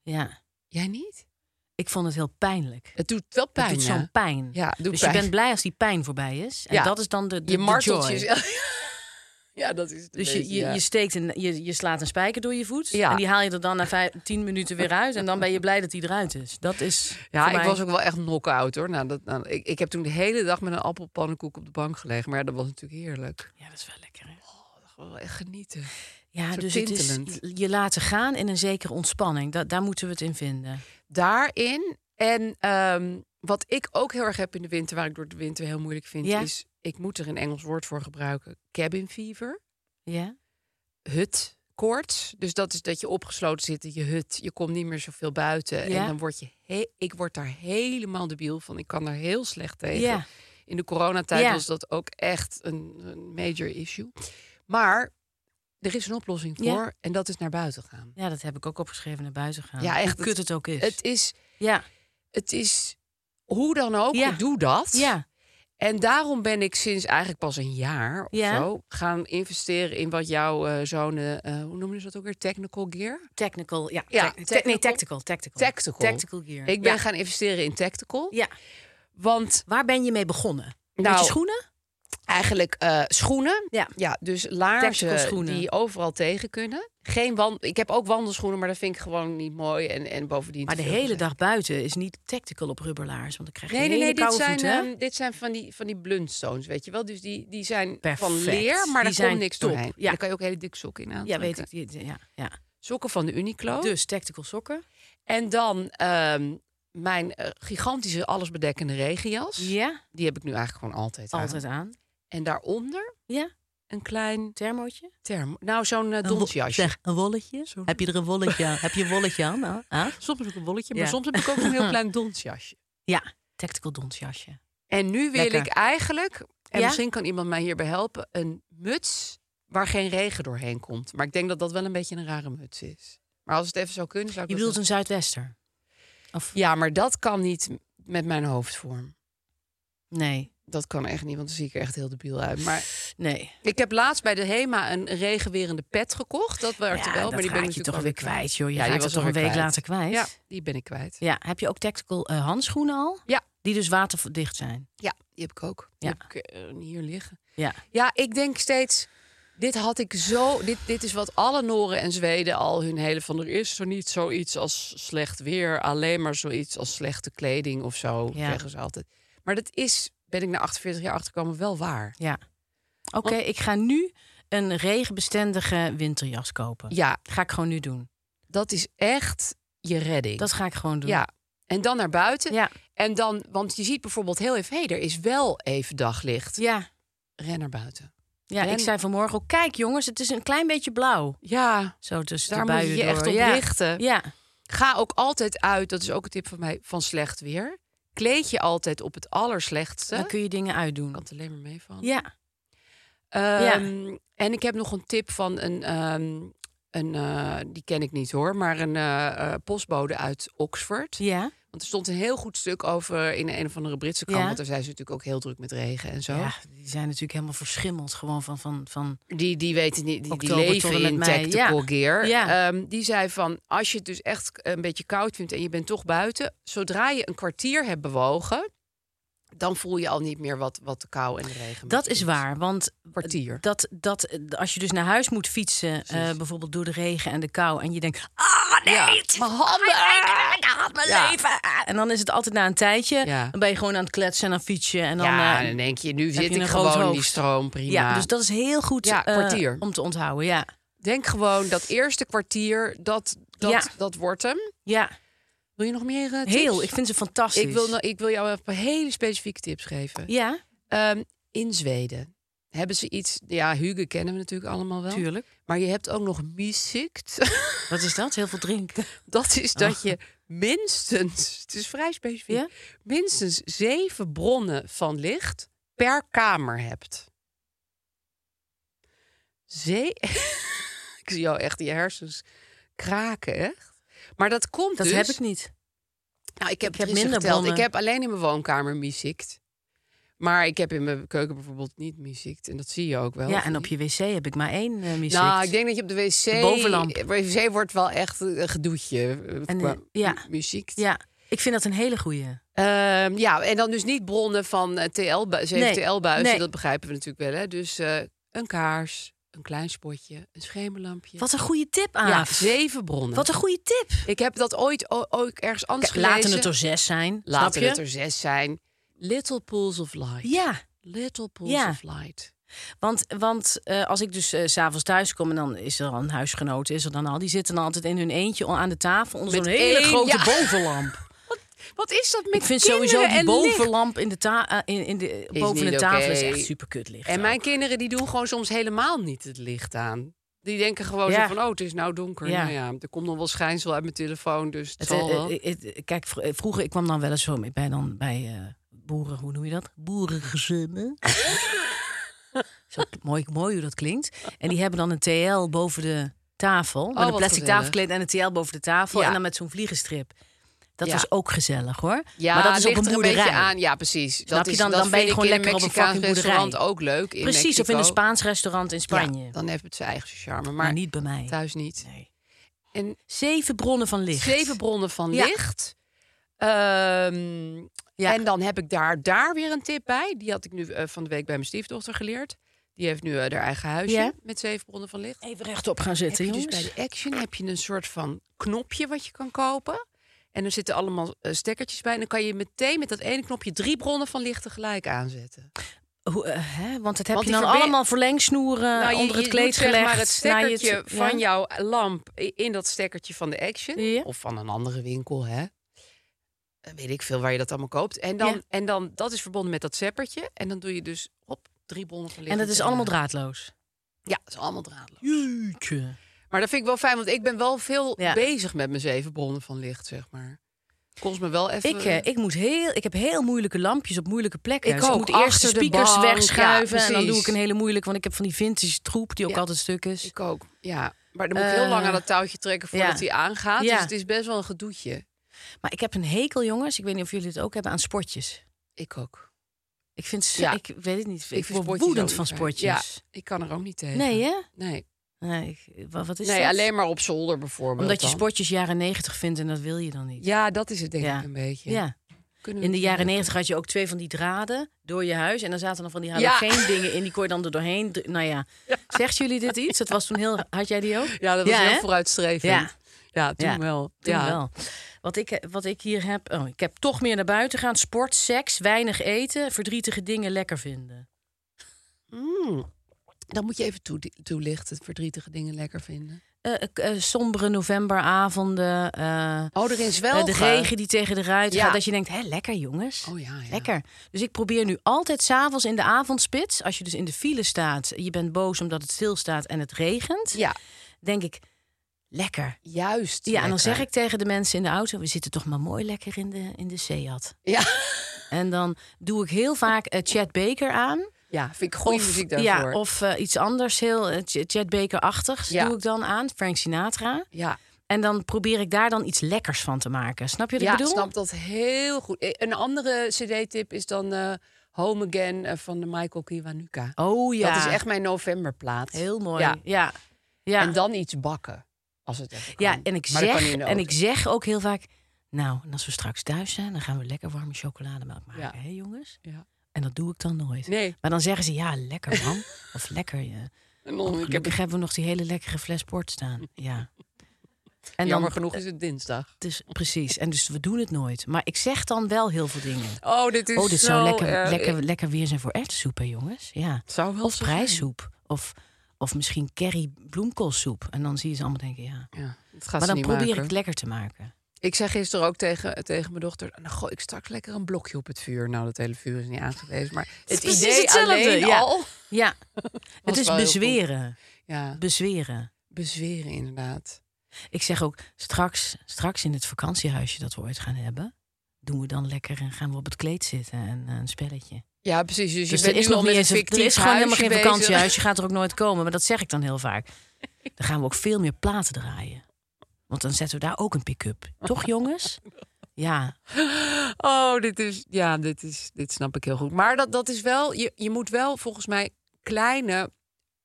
Ja. Jij niet? Ik vond het heel pijnlijk. Het doet wel pijn, Het doet hè? zo'n pijn. Ja, het doet dus pijn. je bent blij als die pijn voorbij is. En Ja. dat is dan de, de, Je de marteltjes. joy. ja, dat is het Dus een je, beetje, je, ja. je, steekt een, je, je slaat een spijker door je voet. Ja. En die haal je er dan na vijf, tien minuten weer uit. En dan ben je blij dat die eruit is. Dat is Ja, voor ik mij- was ook wel echt knock-out hoor. Nou, dat, nou, ik, ik heb toen de hele dag met een appelpannenkoek op de bank gelegen. Maar ja, dat was natuurlijk heerlijk. Ja, dat is wel lekker. Hè? Gewoon Wel echt genieten. Ja, Zo dus het is tintelend. je- je laten gaan in een zekere ontspanning. Da daar moeten we het in vinden. Daarin. En ehm, wat ik ook heel erg heb in de winter, waar ik door de winter heel moeilijk vind, Ja. is ik moet er een Engels woord voor gebruiken. Cabin fever. Ja? Hut. Koorts. Dus dat is dat je opgesloten zit in je hut. Je komt niet meer zoveel buiten. Ja. En dan word je. he- ik word daar helemaal debiel van. Ik kan daar heel slecht tegen. Ja. In de coronatijd Ja. was dat ook echt een, een major issue. Maar er is een oplossing voor Ja. en dat is naar buiten gaan. ja, dat heb ik ook opgeschreven naar buiten gaan. Ja, echt. Hoe kut het ook is. Het is, Ja, het is hoe dan ook, Ja. ik doe dat. ja. En daarom ben ik sinds eigenlijk pas een jaar of Ja. zo gaan investeren in wat jouw eh, zo'n, eh, hoe noemen ze dat ook weer, technical gear? Technical. Ja, Ja, tec- tec- nee, technical- tactical. Tactical, Tactical. gear. Ik ben Ja. gaan investeren in tactical, ja. want Waar ben je mee begonnen? Nou, Met je schoenen? eigenlijk eh, schoenen. Ja. Ja, dus Tactical laarzen schoenen. die overal tegen kunnen. Geen wand ik heb ook wandelschoenen, maar dat vind ik gewoon niet mooi. En, en bovendien. Maar de te veel hele gezegd. dag buiten is niet tactical op rubberlaars. Want dan krijg je Nee, nee, hele nee, dit koude zijn, voeten. hè? ehm, dit zijn van die, van die blundstones, weet je wel. Dus die, die zijn Perfect. van leer, Die maar daar zijn komt niks top, doorheen. ja. Daar kan je ook hele dikke sokken in aan. ja, weet ik. die- Ja, ja. Sokken van de Uniqlo. Dus tactical sokken. En dan ehm, mijn eh, gigantische allesbedekkende regenjas. Ja, Die heb ik nu eigenlijk gewoon altijd, aan. altijd aan. En daaronder Ja, een klein thermootje. term. Nou, zo'n eh, donsjasje. een wolletje. Heb je er een wolletje aan? Heb je een wolletje aan? hè? Hè? Soms ook een bolletje, maar Ja. soms heb ik ook een heel klein donsjasje. Ja, tactical donsjasje. En nu wil Lekker. ik eigenlijk, en Ja? misschien kan iemand mij hierbij helpen, een muts waar geen regen doorheen komt. Maar ik denk dat dat wel een beetje een rare muts is. Maar als het even zou kunnen, zou ik Je dat bedoelt een Zuidwester? Of wel- Ja, maar dat kan niet met mijn hoofdvorm. nee, Dat kan echt niet, want dan zie ik er echt heel debiel uit. Maar nee. ik heb laatst bij de HEMA een regenwerende pet gekocht. Dat werkte ja, wel, dat maar die ben raak ik je natuurlijk toch wel weer kwijt, joh. Je Ja, die raakt was het toch een alweer week kwijt. later kwijt. Ja, die ben ik kwijt. Ja, heb je ook tactical eh, handschoenen al? Ja. Die dus waterdicht zijn. Ja, die heb ik ook. Die Ja. heb ik eh, hier liggen. Ja. Ja, ik denk steeds. Dit had ik zo. Dit, dit is wat alle Noren en Zweden al hun hele van. Er is zo niet zoiets als slecht weer. Alleen maar zoiets als slechte kleding of zo. Ja. Zeggen ze altijd. Maar dat is, ben ik na 48 jaar achterkomen, wel waar. Ja. Oké, ik ga nu een regenbestendige winterjas kopen. Ja, Ga ik gewoon nu doen. dat is echt je redding. Dat ga ik gewoon doen. ja. En dan naar buiten. Ja. En dan, want je ziet bijvoorbeeld heel even. Hé, er is wel even daglicht. Ja. Ren naar buiten. Ja, En- ik zei vanmorgen ook, kijk jongens, het is een klein beetje blauw. Ja, Zo tussen daar de moet buien je je door. echt op ja. richten. Ja, Ga ook altijd uit, dat is ook een tip van mij, van slecht weer. Kleed je altijd op het allerslechtste. dan Ik kun je dingen uitdoen. kan het alleen maar mee van. Ja, Ehm, En ik heb nog een tip van een, ehm, een eh, die ken ik niet hoor, maar een eh, eh, postbode uit Oxford. ja. Want er stond een heel goed stuk over in een of andere Britse krant. Ja. Want daar zijn ze natuurlijk ook heel druk met regen en zo. ja, die zijn natuurlijk helemaal verschimmeld gewoon van... van, van Die, die weten niet, die, die Oktober tot en leven met in mei, tactical gear. Ja. Ehm, die zei van, als je het dus echt een beetje koud vindt en je bent toch buiten... zodra je een kwartier hebt bewogen, dan voel je al niet meer wat, wat de kou en de regen dat maakt. is waar, want Kwartier. dat, dat, eh, als je dus naar huis moet fietsen, eh, bijvoorbeeld door de regen en de kou... en je denkt, ah nee, Ja. het is Mijn handen! mijn leven, ik haat mijn Ja. leven. ah. En dan is het altijd na een tijdje, Ja. dan ben je gewoon aan het kletsen en aan het fietsen. En dan, ja, eh, dan denk je, nu heb zit je ik een groot gewoon in die hoofd. stroom, prima. ja, dus dat is heel goed Ja, eh, kwartier. om te onthouden. Ja, Denk gewoon dat eerste kwartier, dat, dat, Ja. dat wordt hem. ja. Wil je nog meer eh, tips? heel. Ik vind ze fantastisch. Ik wil, nou- ik wil jou even hele specifieke tips geven. Ja, Ehm, in Zweden hebben ze iets... Ja, Hugo kennen we natuurlijk allemaal wel. natuurlijk. Maar je hebt ook nog mysikt. Wat is dat? Heel veel drinken. Dat is dat je minstens... Het is vrij specifiek. Ah. Ja? Minstens zeven bronnen van licht per kamer hebt. Zee... ik zie jou echt je hersens kraken, echt. Maar dat komt Dat dus... heb ik niet. Nou, ik heb, Ik het minder heb minder geteld. Ik bronnen. heb alleen in mijn woonkamer muziekt. Maar ik heb in mijn keuken bijvoorbeeld niet muziekt. En dat zie je ook wel. ja, of en niet? op je wc heb ik maar één eh muziek. Nou, ik denk dat je op de wc... De bovenlamp. Op de wc wordt wel echt een gedoetje eh, En, qua eh, ja. muziek. Ja, ik vind dat een hele goeie. Ehm, ja, en dan dus niet bronnen van eh, TL, bu- zeven Nee, TL-buizen. nee. Dat begrijpen we natuurlijk wel. Hè? Dus eh, een kaars, een klein spotje, een schemerlampje. Wat een goede tip, aan. ja, zeven bronnen. Wat een goede tip. Ik heb dat ooit o- ook ergens anders K- Laten gelezen. het er zes zijn. Laten snap je? het er zes zijn. Little pools of light. Ja, Little pools Ja. of light. want, want eh, als ik dus eh, s s'avonds thuis kom en dan is er al een huisgenoot, is er dan al, die zitten dan altijd in hun eentje aan de tafel onder Met zo'n hele één- grote ja. bovenlamp. Wat is dat met Ik vind kinderen sowieso die en licht? bovenlamp in de ta- eh, in, in de, boven niet de tafel is oké. echt super kut licht. En ook. mijn kinderen die doen gewoon soms helemaal niet het licht aan. Die denken gewoon Ja. zo van, oh, het is nou donker. Ja. Nou ja, er komt nog wel schijnsel uit mijn telefoon, dus het, Het, zal eh, wel. eh, het- eh, kijk, vro- eh, vroeger, ik kwam dan wel eens zo mee bij, dan, bij eh, boeren, hoe noem je dat? Boerengezinnen. zo mooi, mooi hoe dat klinkt. En die hebben dan een TL boven de tafel. met een Oh, wat plastic gezellig. tafelkleed en een TL boven de tafel. Ja. En dan met zo'n vliegenstrip. Dat Ja. was ook gezellig hoor. ja, maar dat is ligt op een er boerderij. beetje aan. Ja, precies. dat je? is, Dan- dat dan ben je vind ik gewoon in lekker op een Mexicaans fucking boerderij. restaurant ook leuk. In Precies, of in een Mexico. Spaans restaurant in Spanje. Ja, maar, dan heeft het zijn eigen charme, maar niet bij mij. thuis niet. Nee. En Zeven bronnen van licht. zeven bronnen van Ja. licht. Ehm, Ja. En dan heb ik daar, daar weer een tip bij. Die had ik nu eh, van de week bij mijn stiefdochter geleerd. Die heeft nu eh, haar eigen huisje Ja. met zeven bronnen van licht. Even rechtop gaan Heb zitten, je dus jongens. bij de Action heb je een soort van knopje wat je kan kopen. En er zitten allemaal eh, stekkertjes bij. En dan kan je meteen met dat ene knopje drie bronnen van licht tegelijk aanzetten. Hoe, eh, hè? Want dat heb Want je die dan verbi- allemaal verlengsnoeren Nou, je- onder het je kleed doet gelegd. Zeg maar het naar je stekkertje t- van ja? jouw lamp i- in dat stekkertje van de Action. Ja. Of van een andere winkel, hè. Eh, Weet ik veel waar je dat allemaal koopt. En dan, Ja. en dan dat is verbonden met dat zeppertje. En dan doe je dus op drie bronnen van licht. En dat is allemaal eh, draadloos. Ja, dat is allemaal draadloos. Jeetje. Maar dat vind ik wel fijn, want ik ben wel veel Ja. bezig met mijn zeven bronnen van licht, zeg maar. Kost me wel even... Ik, eh, ik, moet heel, ik heb heel moeilijke lampjes op moeilijke plekken. Ik Dus ook, moet eerst de achter de speakers bank, wegschuiven. ja, en dan doe ik precies. een hele moeilijke, want ik heb van die vintage troep die ook Ja. altijd stuk is. Ik ook, ja. Maar dan moet ik heel Eh, lang aan dat touwtje trekken voordat ja. hij aangaat. Ja. Dus het is best wel een gedoetje. Maar ik heb een hekel, jongens. Ik weet niet of jullie het ook hebben aan sportjes. Ik ook. Ik vind, ze- Ja. ik weet het niet. Ik, vind word sportjes woedend ook van niet fijn. Ja, sportjes. ik kan er ook niet tegen. Nee, hè? Nee, Nee, ik- wa- wat is nee dat? alleen maar op zolder bijvoorbeeld. Omdat je dan. sportjes jaren negentig vindt en dat wil je dan niet. Ja, dat is het denk Ja. ik een beetje. ja. Kunnen we In de het jaren niet- negentig had je ook twee van die draden door je huis. En dan zaten dan van die Ja. halogeen dingen in. Die kon je dan er doorheen. dr- Nou ja. zegt jullie dit iets? Dat was toen heel... Had jij die ook? Ja, dat was heel hè? vooruitstrevend. Ja. Ja, toen Ja, wel. Toen ja. wel. Wat ik, wat ik hier heb... Oh, ik heb toch meer naar buiten gaan. Sport, seks, weinig eten, verdrietige dingen lekker vinden. Mm. Dan moet je even toe- toelichten, verdrietige dingen lekker vinden. eh, eh, sombere novemberavonden. eh, Oh, erin eh, zwelgen. de regen die tegen de ruit Ja. gaat. Dat je denkt, hé, lekker jongens. Oh ja, ja. Lekker. Dus ik probeer nu altijd s'avonds in de avondspits... als je dus in de file staat, je bent boos omdat het stilstaat en het regent... Ja, denk ik, lekker. juist. Ja, en dan lekker. zeg ik tegen de mensen in de auto... we zitten toch maar mooi lekker in de, in de Seat. Ja, En dan doe ik heel vaak eh, Chad Baker aan. ja vind ik goede muziek daarvoor. ja, of eh, iets anders heel eh, Ch- Chad Baker-achtigs Ja. doe ik dan aan. Frank Sinatra. ja. En dan probeer ik daar dan iets lekkers van te maken. Snap je wat ja, ik bedoel? snap dat heel goed. Eh, Een andere cd-tip is dan eh, Home Again eh, van de Michael Kiwanuka. Oh ja. Dat is echt mijn novemberplaat. Heel mooi. Ja. Ja. ja. ja. En dan iets bakken. Als het even kan. Ja, en ik, Maar dat kan zeg, niet in de en auto. ik zeg ook heel vaak... Nou, en als we straks thuis zijn, dan gaan we lekker warme chocolademelk maken, Ja. hè jongens? Ja. En dat doe ik dan nooit. Nee. Maar dan zeggen ze, ja, lekker man. of lekker, ja. En dan- Oh, ik heb Gelukkig hebben we nog die hele lekkere fles port staan. Ja. En Jammer dan, genoeg is het dinsdag. dus, precies. En dus we doen het nooit. Maar ik zeg dan wel heel veel dingen. Oh, dit is oh, dit zo eh, zou lekker, erg. lekker, lekker weer zijn voor erwtensoep, hè, jongens? Ja. Zou wel Of zo zijn. prijssoep. Of, of misschien curry bloemkoolsoep. En dan zie je ze allemaal denken, ja. Ja, dat gaat Maar ze dan niet probeer ik maken. het lekker te maken. Ik zei gisteren ook tegen, tegen mijn dochter... nou gooi ik straks lekker een blokje op het vuur. Nou, dat hele vuur is niet aangewezen. Maar het precies idee hetzelfde, alleen ja. al... Ja, het is wel heel bezweren. Ja, Bezweren. bezweren inderdaad. Ik zeg ook, straks, straks in het vakantiehuisje dat we ooit gaan hebben... doen we dan lekker en gaan we op het kleed zitten en eh, een spelletje. Ja, precies. Dus, Dus je bent er is nu nog al met niet een eens een, fictief er is gewoon helemaal huisje geen bezig. vakantiehuis. Je gaat er ook nooit komen, maar dat zeg ik dan heel vaak. Dan gaan we ook veel meer platen draaien. Want dan zetten we daar ook een pick-up. Toch, jongens? Ja, Oh, dit is. Ja, dit, is, dit snap ik heel goed. Maar dat, dat is wel. Je, je moet wel volgens mij kleine,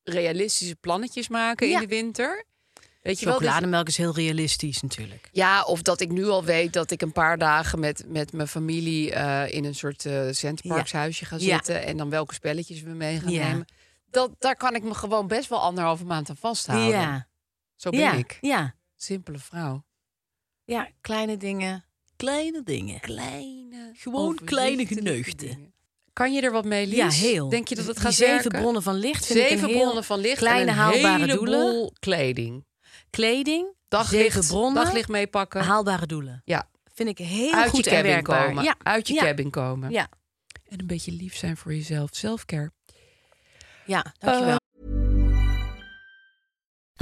realistische plannetjes maken Ja. in de winter. Weet je wel? dus- chocolademelk is heel realistisch natuurlijk. ja, of dat ik nu al weet dat ik een paar dagen met, met mijn familie eh, in een soort eh centparkshuisje ga Ja. zitten. En dan welke spelletjes we mee gaan Ja. nemen. Dat, daar kan ik me gewoon best wel anderhalve maand aan vasthouden. Ja, Zo ben ja, ik. ja, Simpele vrouw. ja, kleine dingen. Kleine dingen. Kleine. Gewoon kleine overzichtelijke geneugden. dingen. Kan je er wat mee, Lies? Ja, heel. Denk je dat het Die gaat zeven werken? bronnen van licht vind ik Zeven een heel bronnen van licht kleine en een haalbare heleboel doelen. kleding. Kleding, Daglicht, zeven bronnen, daglicht meepakken. haalbare doelen. ja. Vind ik heel Uit goed je en cabin werkbaar. komen. Ja. Uit je ja. cabin komen. Ja, En een beetje lief zijn voor jezelf. Selfcare. ja, dankjewel. Oh,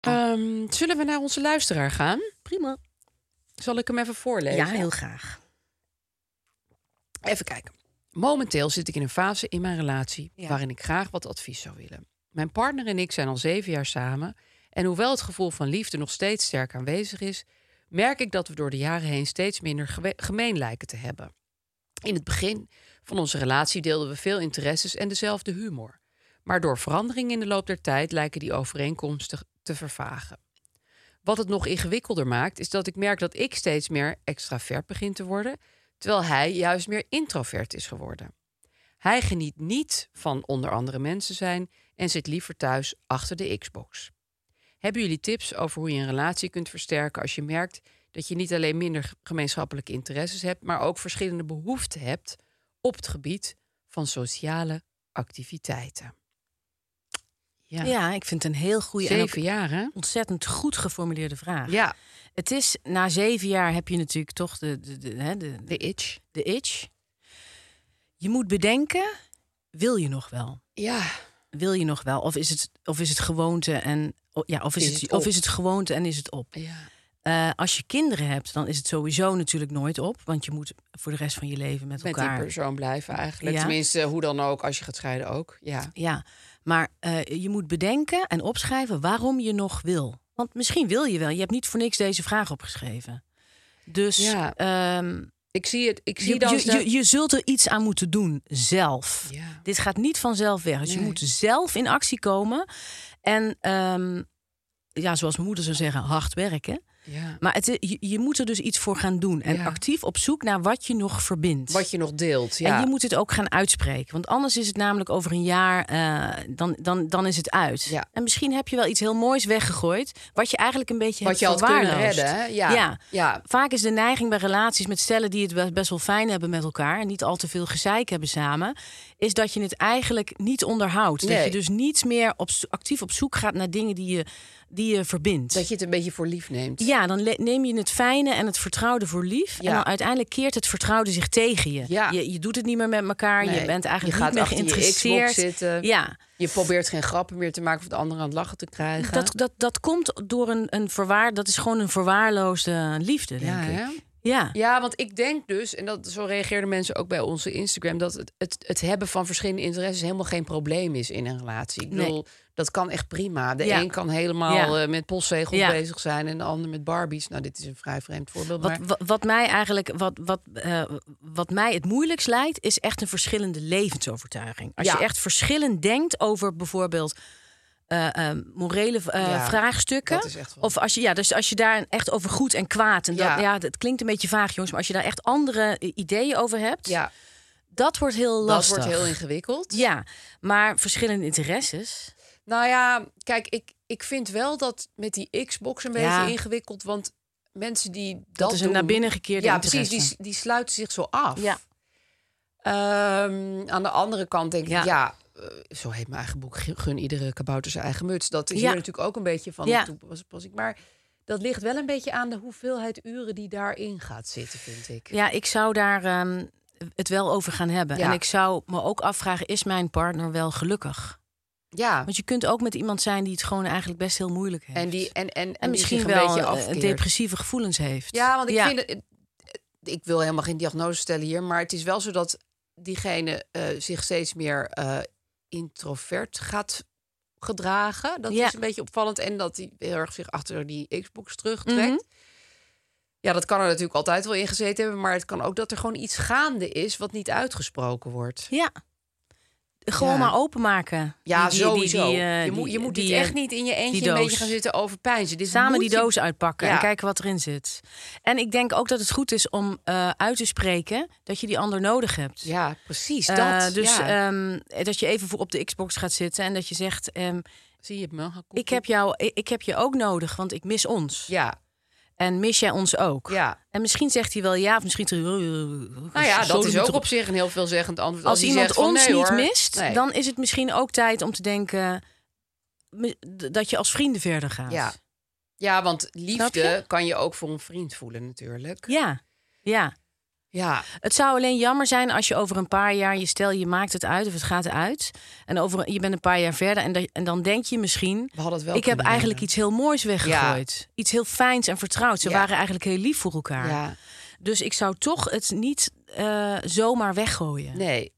Ehm, zullen we naar onze luisteraar gaan? Prima. Zal ik hem even voorlezen? Ja, heel graag. Even kijken. Momenteel zit ik in een fase in mijn relatie Ja. waarin ik graag wat advies zou willen. Mijn partner en ik zijn al zeven jaar samen. En hoewel het gevoel van liefde nog steeds sterk aanwezig is, merk ik dat we door de jaren heen steeds minder gewe- gemeen lijken te hebben. In het begin van onze relatie deelden we veel interesses en dezelfde humor. Maar door verandering in de loop der tijd lijken die overeenkomsten te vervagen. Wat het nog ingewikkelder maakt, is dat ik merk dat ik steeds meer extravert begin te worden, terwijl hij juist meer introvert is geworden. Hij geniet niet van onder andere mensen zijn en zit liever thuis achter de Xbox. Hebben jullie tips over hoe je een relatie kunt versterken als je merkt dat je niet alleen minder gemeenschappelijke interesses hebt, maar ook verschillende behoeften hebt op het gebied van sociale activiteiten? Ja, Ja. ik vind het een heel goede en ook zeven jaar hè? ontzettend goed geformuleerde vraag. Ja, Het is, na zeven jaar heb je natuurlijk toch de, de, de, hè, de, de itch. de itch. Je moet bedenken, wil je nog wel? Ja, Wil je nog wel? Of is het, of is het gewoonte en... o- Ja, of is, Is het, het op? of is het gewoonte en is het op? ja. Eh, als je kinderen hebt, dan is het sowieso natuurlijk nooit op. Want je moet voor de rest van je leven met Met elkaar... die persoon blijven eigenlijk. Ja. Tenminste, hoe dan ook, als je gaat scheiden ook. Ja. Ja, maar eh, je moet bedenken en opschrijven waarom je nog wil. Want misschien wil je wel. Je hebt niet voor niks deze vraag opgeschreven. Dus Ja. ehm, Ik zie het. Ik zie je, dan. je, je, je zult er iets aan moeten doen zelf. Ja. Dit gaat niet vanzelf weg. Dus je Nee. moet zelf in actie komen. En ehm, ja, zoals mijn moeder zou zeggen, hard werken. Ja. Maar het, je, je moet er dus iets voor gaan doen. En Ja. actief op zoek naar wat je nog verbindt. Wat je nog deelt. Ja. En je moet het ook gaan uitspreken. Want anders is het namelijk over een jaar, eh, dan, dan, dan is het uit. Ja. En misschien heb je wel iets heel moois weggegooid. Wat je eigenlijk een beetje Wat hebt je had kunnen verwaarloosd. redden, hè? Ja. Ja. Vaak is de neiging bij relaties met stellen die het wel- best wel fijn hebben met elkaar... en niet al te veel gezeik hebben samen... is dat je het eigenlijk niet onderhoudt. Dat Nee. je dus niet meer op, zo- actief op zoek gaat naar dingen die je, die je verbindt. dat je het een beetje voor lief neemt. Ja, dan le- neem je het fijne en het vertrouwde voor lief. Ja. En dan uiteindelijk keert het vertrouwde zich tegen je. Ja. Je, je doet het niet meer met elkaar. Nee, Je bent eigenlijk je gaat niet meer achter je Xbox geïnteresseerd. zitten. Ja. Je probeert geen grappen meer te maken of de ander aan het lachen te krijgen. Dat, dat, dat komt door een, een verwaar... Dat is gewoon een verwaarloosde liefde, denk ja, ik. hè? Ja. Ja, want ik denk dus, en dat, zo reageerden mensen ook bij onze Instagram, dat het, het, het hebben van verschillende interesses helemaal geen probleem is in een relatie. Ik Nee. bedoel, dat kan echt prima. De Ja. een kan helemaal Ja. eh, met postzegels Ja. bezig zijn en de ander met Barbies. Nou, dit is een vrij vreemd voorbeeld. Wat, maar... wat, wat mij eigenlijk wat, wat, eh, wat mij het moeilijkst lijkt, is echt een verschillende levensovertuiging. Als Ja. je echt verschillend denkt over bijvoorbeeld eh, eh, morele eh, Ja, vraagstukken. dat is echt wel- Of als je, ja, dus als je daar echt over goed en kwaad. En dat, ja. Ja. dat klinkt een beetje vaag, jongens, maar als je daar echt andere eh, ideeën over hebt, Ja, dat wordt heel dat lastig. wordt heel ingewikkeld. Ja, maar verschillende interesses. Nou ja, kijk, ik, ik vind wel dat met die Xbox een beetje Ja. ingewikkeld, want mensen die dat, is een doen- naar binnen gekeerde Ja, interesse. precies, die, die sluiten zich zo af. Ja. Ehm, aan de andere kant denk ik, Ja. ja, eh, zo heet mijn eigen boek, gun iedere kabouter zijn eigen muts. Dat is Ja. hier natuurlijk ook een beetje van Ja. ja. toepassing. Maar dat ligt wel een beetje aan de hoeveelheid uren die daarin gaat zitten, vind ik. Ja, ik zou daar ehm, het wel over gaan hebben. Ja. En ik zou me ook afvragen, is mijn partner wel gelukkig? Ja, Want je kunt ook met iemand zijn die het gewoon eigenlijk best heel moeilijk heeft. en, die, en, en, en, die misschien zich wel een beetje eh, afkeert. depressieve gevoelens heeft. Ja, want ik vind het, het- ik wil helemaal geen diagnose stellen hier, maar het is wel zo dat diegene eh, zich steeds meer eh, introvert gaat gedragen. Dat Ja. is een beetje opvallend en dat hij heel erg zich achter die Xbox terugtrekt. Mhm. Ja, dat kan er natuurlijk altijd wel in gezeten hebben, maar het kan ook dat er gewoon iets gaande is wat niet uitgesproken wordt. Ja. Gewoon Ja. maar openmaken. Ja, Die- die- die- sowieso. die, eh, je moet, je die- moet die, dit echt eh, niet in je die eentje een beetje doos. gaan zitten overpijnzen. Dit Samen moet die je- doos uitpakken en Ja. kijken wat erin zit. En ik denk ook dat het goed is om eh, uit te spreken dat je die ander nodig hebt. Ja, precies. Dat. Eh, dus ja. ehm, dat je even voor op de Xbox gaat zitten en dat je zegt: ehm, Zie je het me? Hakoekoek. ik, heb jou, ik, ik heb je ook nodig, want ik mis ons. Ja, En mis jij ons ook? ja. En misschien zegt hij wel ja, of misschien... Nou ja, dat is ook op zich een heel veelzeggend antwoord. Als, hij iemand zegt van, ons nee, niet hoor. mist, Nee. dan is het misschien ook tijd om te denken... mi- d- dat je als vrienden verder gaat. Ja. Ja, want liefde je? kan je ook voor een vriend voelen natuurlijk. ja. Ja. Ja, Het zou alleen jammer zijn als je over een paar jaar... je stel, je maakt het uit of het gaat uit. En over, je bent een paar jaar verder en, dat- en dan denk je misschien... we hadden het wel Ik heb kunnen eigenlijk leren. iets heel moois weggegooid. Iets heel fijns en vertrouwd. Ze Ja. waren eigenlijk heel lief voor elkaar. Ja, Dus ik zou toch het niet eh, zomaar weggooien. nee.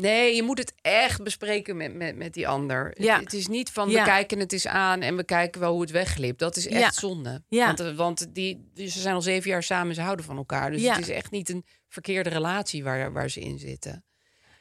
Nee, je moet het echt bespreken met, met, met die ander. Het- Ja. Het, is niet van, Ja. we kijken het eens aan en we kijken wel hoe het wegglipt. Dat is echt Ja. zonde. Ja. Want, eh, want die, dus ze zijn al zeven jaar samen, ze houden van elkaar. Dus Ja. het is echt niet een verkeerde relatie waar, waar ze in zitten.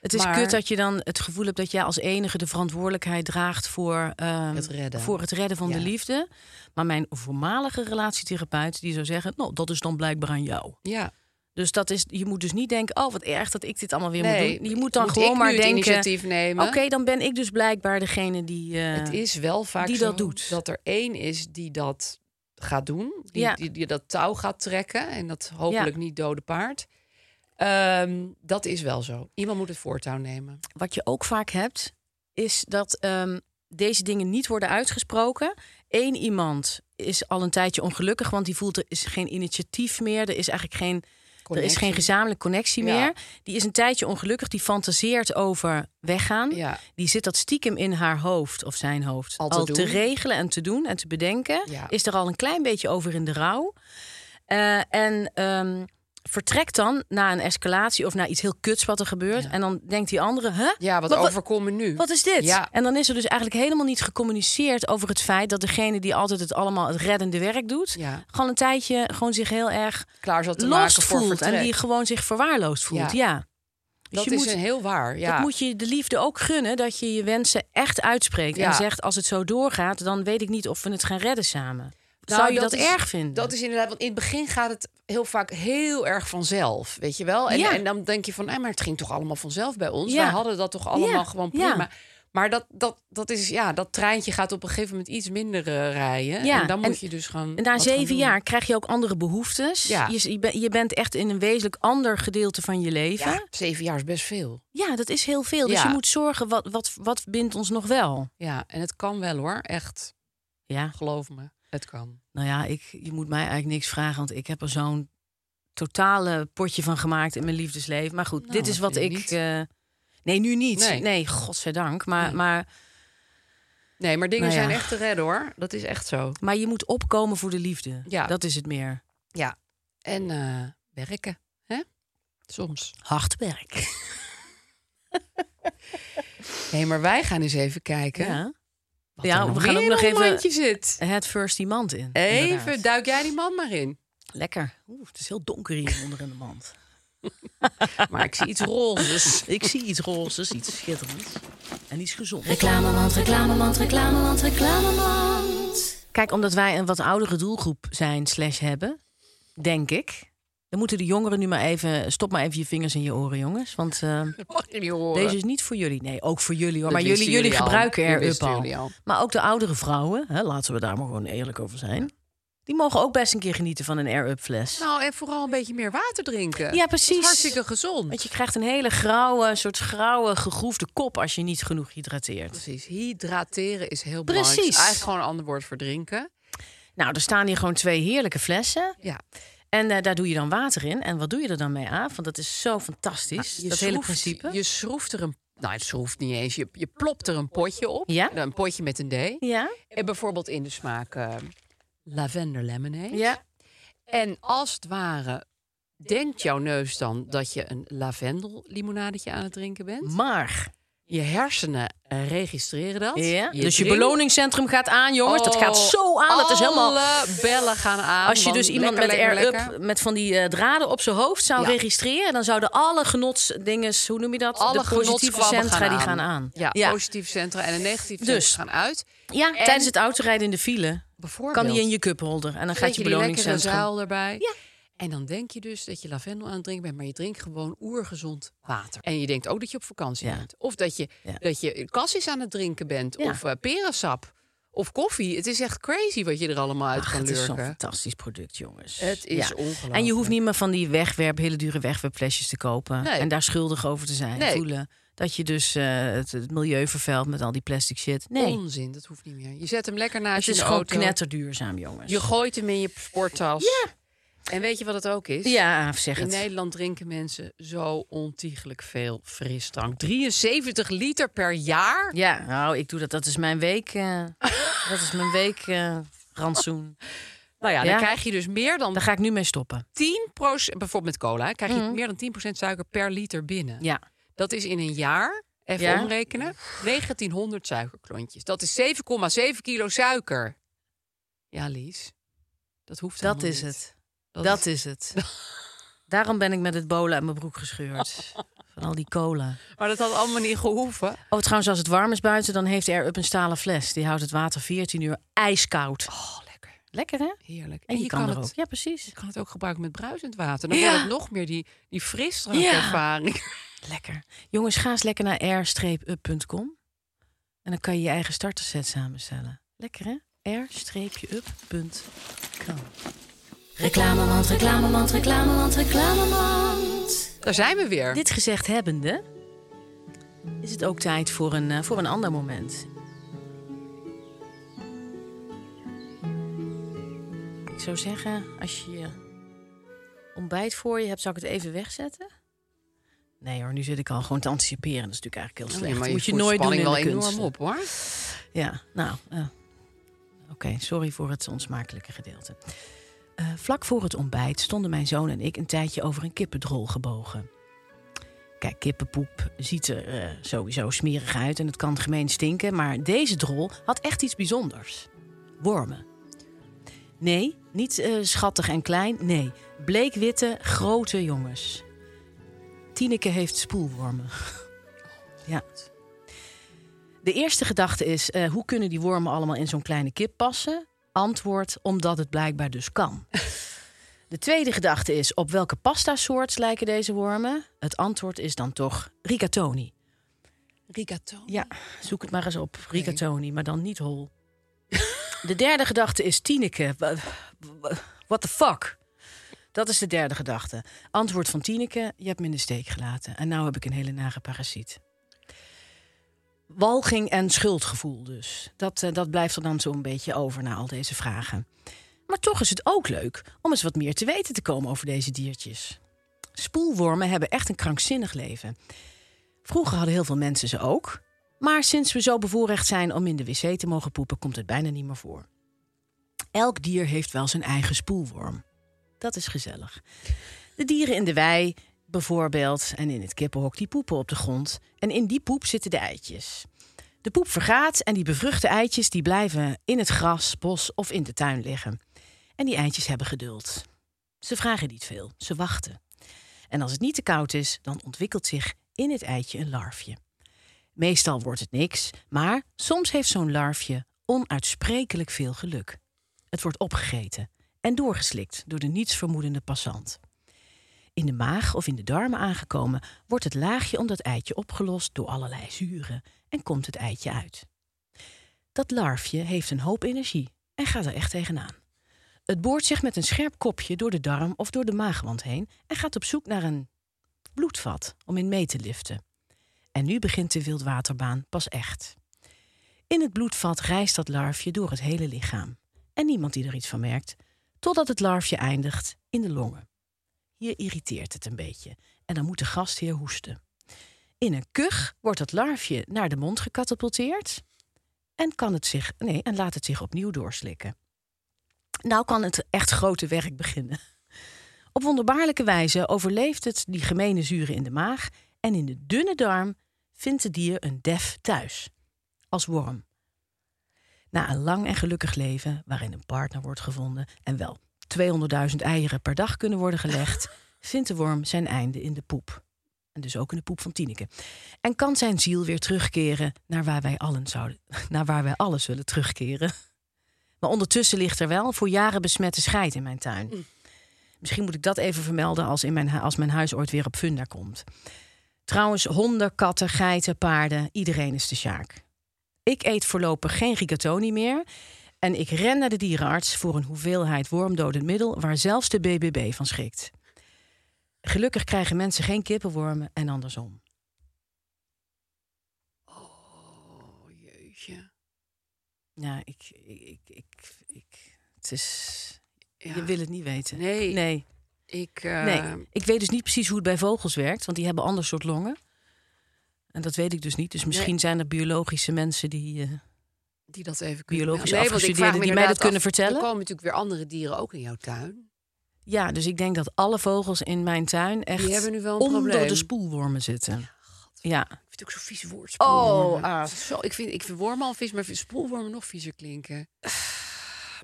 Het is Maar- kut dat je dan het gevoel hebt dat jij als enige de verantwoordelijkheid draagt voor, ehm, Het redden. voor het redden van de Ja. liefde. Maar mijn voormalige relatietherapeut die zou zeggen, nou dat is dan blijkbaar aan jou. Ja. Dus dat is, je moet dus niet denken, oh wat erg dat ik dit allemaal weer Nee, moet doen. Je moet dan moet gewoon ik maar nu het denken, initiatief nemen? Oké, dan ben ik dus blijkbaar degene die. eh, Het is wel vaak die zo dat doet. dat er één is die dat gaat doen. Die, Ja. die, die dat touw gaat trekken. En dat hopelijk Ja. niet dode paard. Ehm, dat is wel zo. Iemand moet het voortouw nemen. wat je ook vaak hebt, is dat ehm, deze dingen niet worden uitgesproken. Eén iemand is al een tijdje ongelukkig, want die voelt er is geen initiatief meer. Er is eigenlijk geen, er is Connectie. geen gezamenlijke connectie Ja. meer. Die is een tijdje ongelukkig, die fantaseert over weggaan. Ja. Die zit dat stiekem in haar hoofd of zijn hoofd Al te doen. regelen en te doen en te bedenken. Ja. Is er al een klein beetje over in de rouw. Eh, en ehm, vertrekt dan na een escalatie of naar iets heel kuts wat er gebeurt. En dan denkt die andere, hè? Ja, wat, overkomen nu? Wat is dit? Ja. En dan is er dus eigenlijk helemaal niet gecommuniceerd over het feit dat degene die altijd het allemaal het reddende werk doet, Ja. gewoon een tijdje gewoon zich heel erg Klaar zat te lost maken voor voelt en vertrek. die gewoon zich verwaarloosd voelt. Ja. Ja. Dus dat je is moet- een heel waar. Ja. Dat moet je de liefde ook gunnen, dat je je wensen echt uitspreekt. Ja. En zegt, als het zo doorgaat, dan weet ik niet of we het gaan redden samen. Zou je dat, is- erg vinden? Nou, Dat is inderdaad, want in het begin gaat het heel vaak heel erg vanzelf, weet je wel? En, Ja. en dan denk je van, eh, maar het ging toch allemaal vanzelf bij ons? Ja. Wij hadden dat toch allemaal Ja, gewoon ja. prima? Maar dat, dat, dat is, ja, dat treintje gaat op een gegeven moment iets minder eh, rijden. Ja, En dan en- moet je dus gewoon... En na wat gaan zeven doen. jaar krijg je ook andere behoeftes. Ja. Je, je, ben- je bent echt in een wezenlijk ander gedeelte van je leven. Ja, Ja, zeven jaar is best veel. dat is heel veel. Dus Ja. je moet zorgen, wat, wat, wat bindt ons nog wel? Ja, en het kan wel hoor, echt. Ja, Geloof me, het kan. nou ja, ik, je moet mij eigenlijk niks vragen, want ik heb er zo'n totale potje van gemaakt in mijn liefdesleven. Maar goed, Nou, dit is dat wat vind ik ik... niet. eh, nee, nu niet. Nee. Nee, godzijdank. Maar, Nee. maar Nee, maar dingen Nou ja. zijn echt te redden hoor. Dat is echt zo. Maar je moet opkomen voor de liefde. Ja. Dat is het meer. Ja. En eh, werken, hè? Soms. Hard werk. Nee, maar wij gaan eens even kijken. Ja. Wat Ja, er we nog gaan meer ook nog in dat even- mandje zit. Het first iemand in. Even, inderdaad. duik jij die man maar in. Lekker. Oeh, het is heel donker hier onder in de mand. Maar ik zie iets rozes. Ik zie iets rozes, iets schitterends. En iets gezonds. Reclamemand, reclamemand, reclamemand, reclamemand. Kijk, omdat wij een wat oudere doelgroep zijn slash hebben, denk ik... dan moeten de jongeren nu maar even... Stop maar even je vingers in je oren, jongens. Want eh, Dat mag je niet horen. deze is niet voor jullie. Nee, ook voor jullie Dat hoor. maar jullie, wisten jullie, jullie al. gebruiken Dit er up wisten al. jullie al. Maar ook de oudere vrouwen, hè, laten we daar maar gewoon eerlijk over zijn... die mogen ook best een keer genieten van een air-up fles. Nou, en vooral een beetje meer water drinken. Ja, Dat precies. is hartstikke gezond. Want je krijgt een hele grauwe, soort grauwe, gegroefde kop als je niet genoeg hydrateert. Precies. Hydrateren is heel Precies. belangrijk. Dus Eigenlijk gewoon een ander woord voor drinken. Nou, er staan hier gewoon twee heerlijke flessen. Ja. Nou, En eh, daar doe je dan water in. En wat doe je er dan mee aan? Want dat is zo fantastisch, Ah, Je dat hele schroeft- principe. Je schroeft er een... Nou, het schroeft niet eens. Je, je plopt er een potje op. Nou, Ja. Een potje met een D. Ja? En bijvoorbeeld in de smaak eh, lavender lemonade. Ja. En als het ware denkt jouw neus dan dat je een lavendellimonadetje aan het drinken bent. Maar. Je hersenen eh, registreren dat. Ja. dus je drinkt- beloningscentrum gaat aan, jongens. dat gaat Oh, zo aan. Het is helemaal... Alle bellen gaan aan. Als je want dus iemand lekker, met lekker, air-up, lekker. met van die eh, draden op zijn hoofd zou Ja. registreren... dan zouden alle genotsdinges, hoe noem je dat? Alle de positieve genotskwabben centra, die gaan aan. Ja, ja. positieve centra en de negatieve Dus. centra gaan uit. Ja, En- tijdens het autorijden in de file Bijvoorbeeld. kan die in je cupholder. En dan gaat je Beetje die lekkere beloningscentrum... zuil erbij. Ja. En dan denk je dus dat je lavendel aan het drinken bent, maar je drinkt gewoon oergezond water. Ah, En je denkt ook dat je op vakantie Ja. bent. Of dat je, Ja. dat je cassis aan het drinken bent. Ja. Of eh, perensap. Of koffie. Het is echt crazy wat je er allemaal uit Ach, kan het is zo'n lurken. fantastisch product, jongens. Het is ongelooflijk. En je hoeft niet meer van die wegwerp, hele dure wegwerpflesjes te kopen. Nee. En daar schuldig over te zijn. Nee. Voelen dat je dus eh, het, het milieu vervuilt met al die plastic shit. Nee, Onzin, dat hoeft niet meer. Je zet hem lekker naast het je in is de gewoon auto. knetterduurzaam, jongens. Je gooit hem in je sporttas. Ja. En weet je wat het ook is? ja, zeg In het. Nederland drinken mensen zo ontiegelijk veel frisdrank. 73 liter per jaar. Ja, nou, ik doe dat. Dat is mijn week. eh, dat is mijn week eh, rantsoen. Nou ja, dan Ja. krijg je dus meer dan Daar ga ik nu mee stoppen. 10 bijvoorbeeld met cola, hè, krijg Mhm. je meer dan 10 suiker per liter binnen. Ja. Dat is in een jaar, even Ja. omrekenen, 1900 suikerklontjes. Dat is 7,7 kilo suiker. Ja, Lies, dat hoeft Dat helemaal is niet. het. Dat is het. Daarom ben ik met het bolen uit mijn broek gescheurd. Van al die cola. Maar dat had allemaal niet gehoeven. Oh, trouwens, als het warm is buiten, dan heeft Air Up een stalen fles. Die houdt het water 14 uur ijskoud. Oh, lekker. Lekker, hè? Heerlijk. En, je, kan, er het, ook. Ja, precies. je kan het ook gebruiken met bruisend water. Dan Ja. wordt het nog meer die, die frisdrankervaring. Lekker. Jongens, ga eens lekker naar air-up.com. En dan kan je je eigen starterset samenstellen. Lekker, hè? air-up.com. Reclamemand, reclamemand, reclamemand, reclamemand. Daar zijn we weer. Dit gezegd hebbende, is het ook tijd voor een, eh, voor een ander moment. Ik zou zeggen, als je je ontbijt voor je hebt, zou ik het even wegzetten? Nee hoor, nu zit ik al gewoon te anticiperen. Dat is natuurlijk eigenlijk heel Nee, slecht. Oh, maar je Moet je voert nooit doen in spanning de wel kunst. enorm op, hoor. Ja, nou, eh, oké, sorry voor het onsmakelijke gedeelte. Eh, vlak voor het ontbijt stonden mijn zoon en ik een tijdje over een kippendrol gebogen. Kijk, kippenpoep ziet er eh, sowieso smerig uit en het kan gemeen stinken, maar deze drol had echt iets bijzonders. Wormen. Nee, niet eh, schattig en klein, nee, bleekwitte, grote jongens. Tineke heeft spoelwormen. ja. De eerste gedachte is, eh, hoe kunnen die wormen allemaal in zo'n kleine kip passen? Antwoord, omdat het blijkbaar dus kan. De tweede gedachte is, op welke pasta-soort lijken deze wormen? Het antwoord is dan toch rigatoni. Rigatoni. Ja, zoek het maar eens op. Rigatoni, maar dan niet hol. de derde gedachte is Tineke. Wa- wa- What the fuck? Dat is de derde gedachte. Antwoord van Tineke, je hebt me in de steek gelaten. En nou heb ik een hele nare parasiet. Walging en schuldgevoel dus. Dat, eh, dat blijft er dan zo'n beetje over na al deze vragen. Maar toch is het ook leuk om eens wat meer te weten te komen over deze diertjes. Spoelwormen hebben echt een krankzinnig leven. Vroeger hadden heel veel mensen ze ook. Maar sinds we zo bevoorrecht zijn om in de wc te mogen poepen, komt het bijna niet meer voor. Elk dier heeft wel zijn eigen spoelworm. Dat is gezellig. De dieren in de wei, bijvoorbeeld, en in het kippenhok, die poepen op de grond. En in die poep zitten de eitjes. De poep vergaat en die bevruchte eitjes die blijven in het gras, bos of in de tuin liggen. En die eitjes hebben geduld. Ze vragen niet veel, ze wachten. En als het niet te koud is, dan ontwikkelt zich in het eitje een larfje. Meestal wordt het niks, maar soms heeft zo'n larfje onuitsprekelijk veel geluk. Het wordt opgegeten en doorgeslikt door de nietsvermoedende passant. In de maag of in de darmen aangekomen wordt het laagje om dat eitje opgelost door allerlei zuren en komt het eitje uit. Dat larfje heeft een hoop energie en gaat er echt tegenaan. Het boort zich met een scherp kopje door de darm of door de maagwand heen en gaat op zoek naar een bloedvat om in mee te liften. En nu begint de wildwaterbaan pas echt. In het bloedvat reist dat larfje door het hele lichaam. En niemand die er iets van merkt, totdat het larfje eindigt in de longen. Hier irriteert het een beetje en dan moet de gastheer hoesten. In een kuch wordt dat larfje naar de mond gecatapulteerd en, kan het zich, nee, en laat het zich opnieuw doorslikken. Nou kan het echt grote werk beginnen. Op wonderbaarlijke wijze overleeft het die gemene zuren in de maag en in de dunne darm vindt het dier een def thuis, als worm. Na een lang en gelukkig leven waarin een partner wordt gevonden en wel 200.000 eieren per dag kunnen worden gelegd, vindt de worm zijn einde in de poep. En dus ook in de poep van Tineke. En kan zijn ziel weer terugkeren naar waar wij allen, zouden, naar waar wij allen zullen terugkeren. Maar ondertussen ligt er wel voor jaren besmette scheid in mijn tuin. Misschien moet ik dat even vermelden als, in mijn, hu- als mijn huis ooit weer op funda komt. Trouwens, honden, katten, geiten, paarden, iedereen is de sjaak. Ik eet voorlopig geen rigatoni meer. En ik ren naar de dierenarts voor een hoeveelheid wormdodend middel... waar zelfs de BBB van schrikt. Gelukkig krijgen mensen geen kippenwormen en andersom. Oh, jeetje. Ja, ik... ik, ik, ik, ik- het is... Ja. Je wil het niet weten. Nee. Nee. Ik, eh, Nee, ik weet dus niet precies hoe het bij vogels werkt, want die hebben ander soort longen. En dat weet ik dus niet. Dus misschien Nee. zijn er biologische mensen die. eh, die dat even kunnen... Biologisch want ik vraag afgestudeerden me die mij inderdaad dat kunnen af, vertellen? Er komen natuurlijk weer andere dieren ook in jouw tuin. Ja, dus ik denk dat alle vogels in mijn tuin echt Die hebben nu wel een onder probleem. de spoelwormen zitten. Ja, Ik vind het ook zo'n vies woord. Oh, spoelwormen. ah. Zo, ik, vind, ik vind wormen al vies, maar ik vind spoelwormen nog viezer klinken.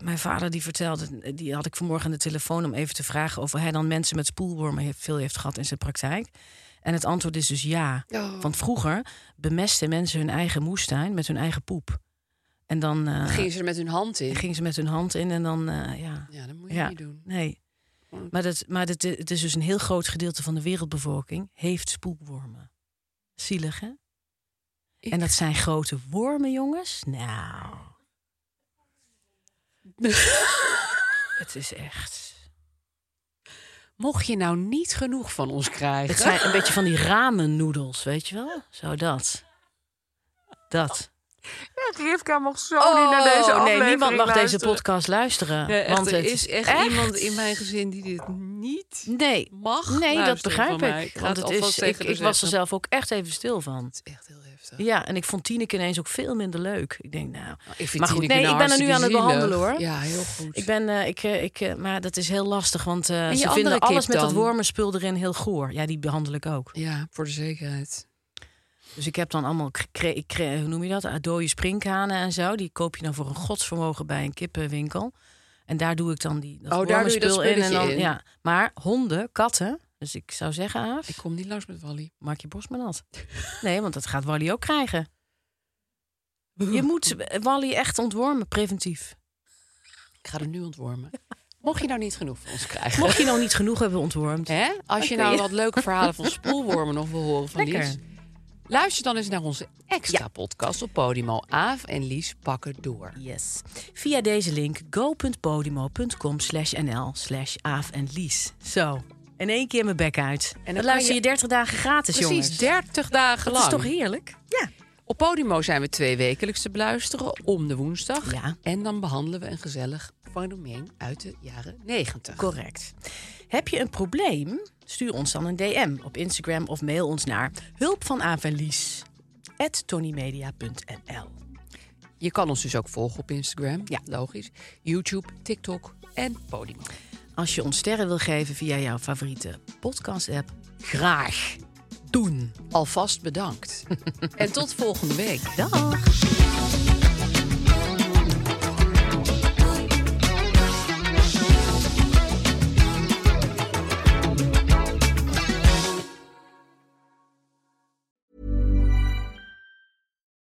mijn vader die vertelde, die had ik vanmorgen aan de telefoon om even te vragen of hij dan mensen met spoelwormen heeft, veel heeft gehad in zijn praktijk. En het antwoord is dus ja. Oh. Want vroeger bemesten mensen hun eigen moestuin met hun eigen poep. En dan eh, Gingen ze er met hun hand in? gingen ze met hun hand in en dan, eh, ja. Ja, dat moet je niet doen. Nee. Maar, dat, maar dat, het is dus een heel groot gedeelte van de wereldbevolking heeft spoelwormen. Zielig, hè? En dat zijn grote wormen, jongens. Nou. het is echt. Mocht je nou niet genoeg van ons krijgen... Het zijn een beetje van die ramennoedels, weet je wel? Zo dat. Dat. Rivka mag zo Oh, niet naar deze aflevering nee, niemand mag deze luisteren. podcast luisteren. Nee, echt, want er het is echt, iemand in mijn gezin die dit niet Nee, mag nee dat luisteren van begrijp mij. ik. Ik ga Want het het alvast is, ik, tegen de ik was er zeggen. dus zelf ook echt even stil van. Het is echt heel heftig. Ja, en ik vond Tineke ineens ook veel minder leuk. Ik denk, nou, Ik vind maar goed, Tineke nee, nou ik ben er nu aan het hartstikke behandelen zielig. hoor. Ja, heel goed. Ik ben, eh, ik, eh, ik, eh, maar dat is heel lastig, want eh, je ze andere vinden kip alles met dat dan? wormenspul erin heel goor. Ja, die behandel ik ook. Ja, voor de zekerheid. Dus ik heb dan allemaal, cre- cre- cre- hoe noem je dat, Ah, dode sprinkhanen en zo. Die koop je dan voor een godsvermogen bij een kippenwinkel. En daar doe ik dan die, dat Oh, daar doe je dat wormenspul in. En spulletje dan, in. Ja. Maar honden, katten, Dus ik zou zeggen, Aaf, Ik kom niet langs met Wally. maak je borst maar nat. Nee, want dat gaat Wally ook krijgen. Je moet Wally echt ontwormen, preventief. Ik ga er nu ontwormen. Mocht je nou niet genoeg van ons krijgen. Mocht je nou niet genoeg hebben ontwormd. Hè? Als je Oké. nou wat leuke verhalen van spoelwormen nog wil horen van Lekker. Lies... luister dan eens naar onze extra podcast op Podimo. Aaf en Lies pakken door. Yes. Via deze link go.podimo.com slash nl slash Aaf en Lies. Zo, in één keer mijn bek uit. En kan dan luister je- je 30 dagen gratis, jongens. Precies, 30 dagen Dat is lang. toch heerlijk? Ja. Op Podimo zijn we twee wekelijks te beluisteren om de woensdag. Ja. En dan behandelen we een gezellig fenomeen uit de jaren 90. Correct. Heb je een probleem? Stuur ons dan een DM op Instagram of mail ons naar hulp van Aaf en Lies. at tonymedia.nl Je kan ons dus ook volgen op Instagram. Ja. Logisch. YouTube, TikTok en Podimo. Als je ons sterren wil geven via jouw favoriete podcast-app, Graag doen. Alvast bedankt. en tot volgende week. dag!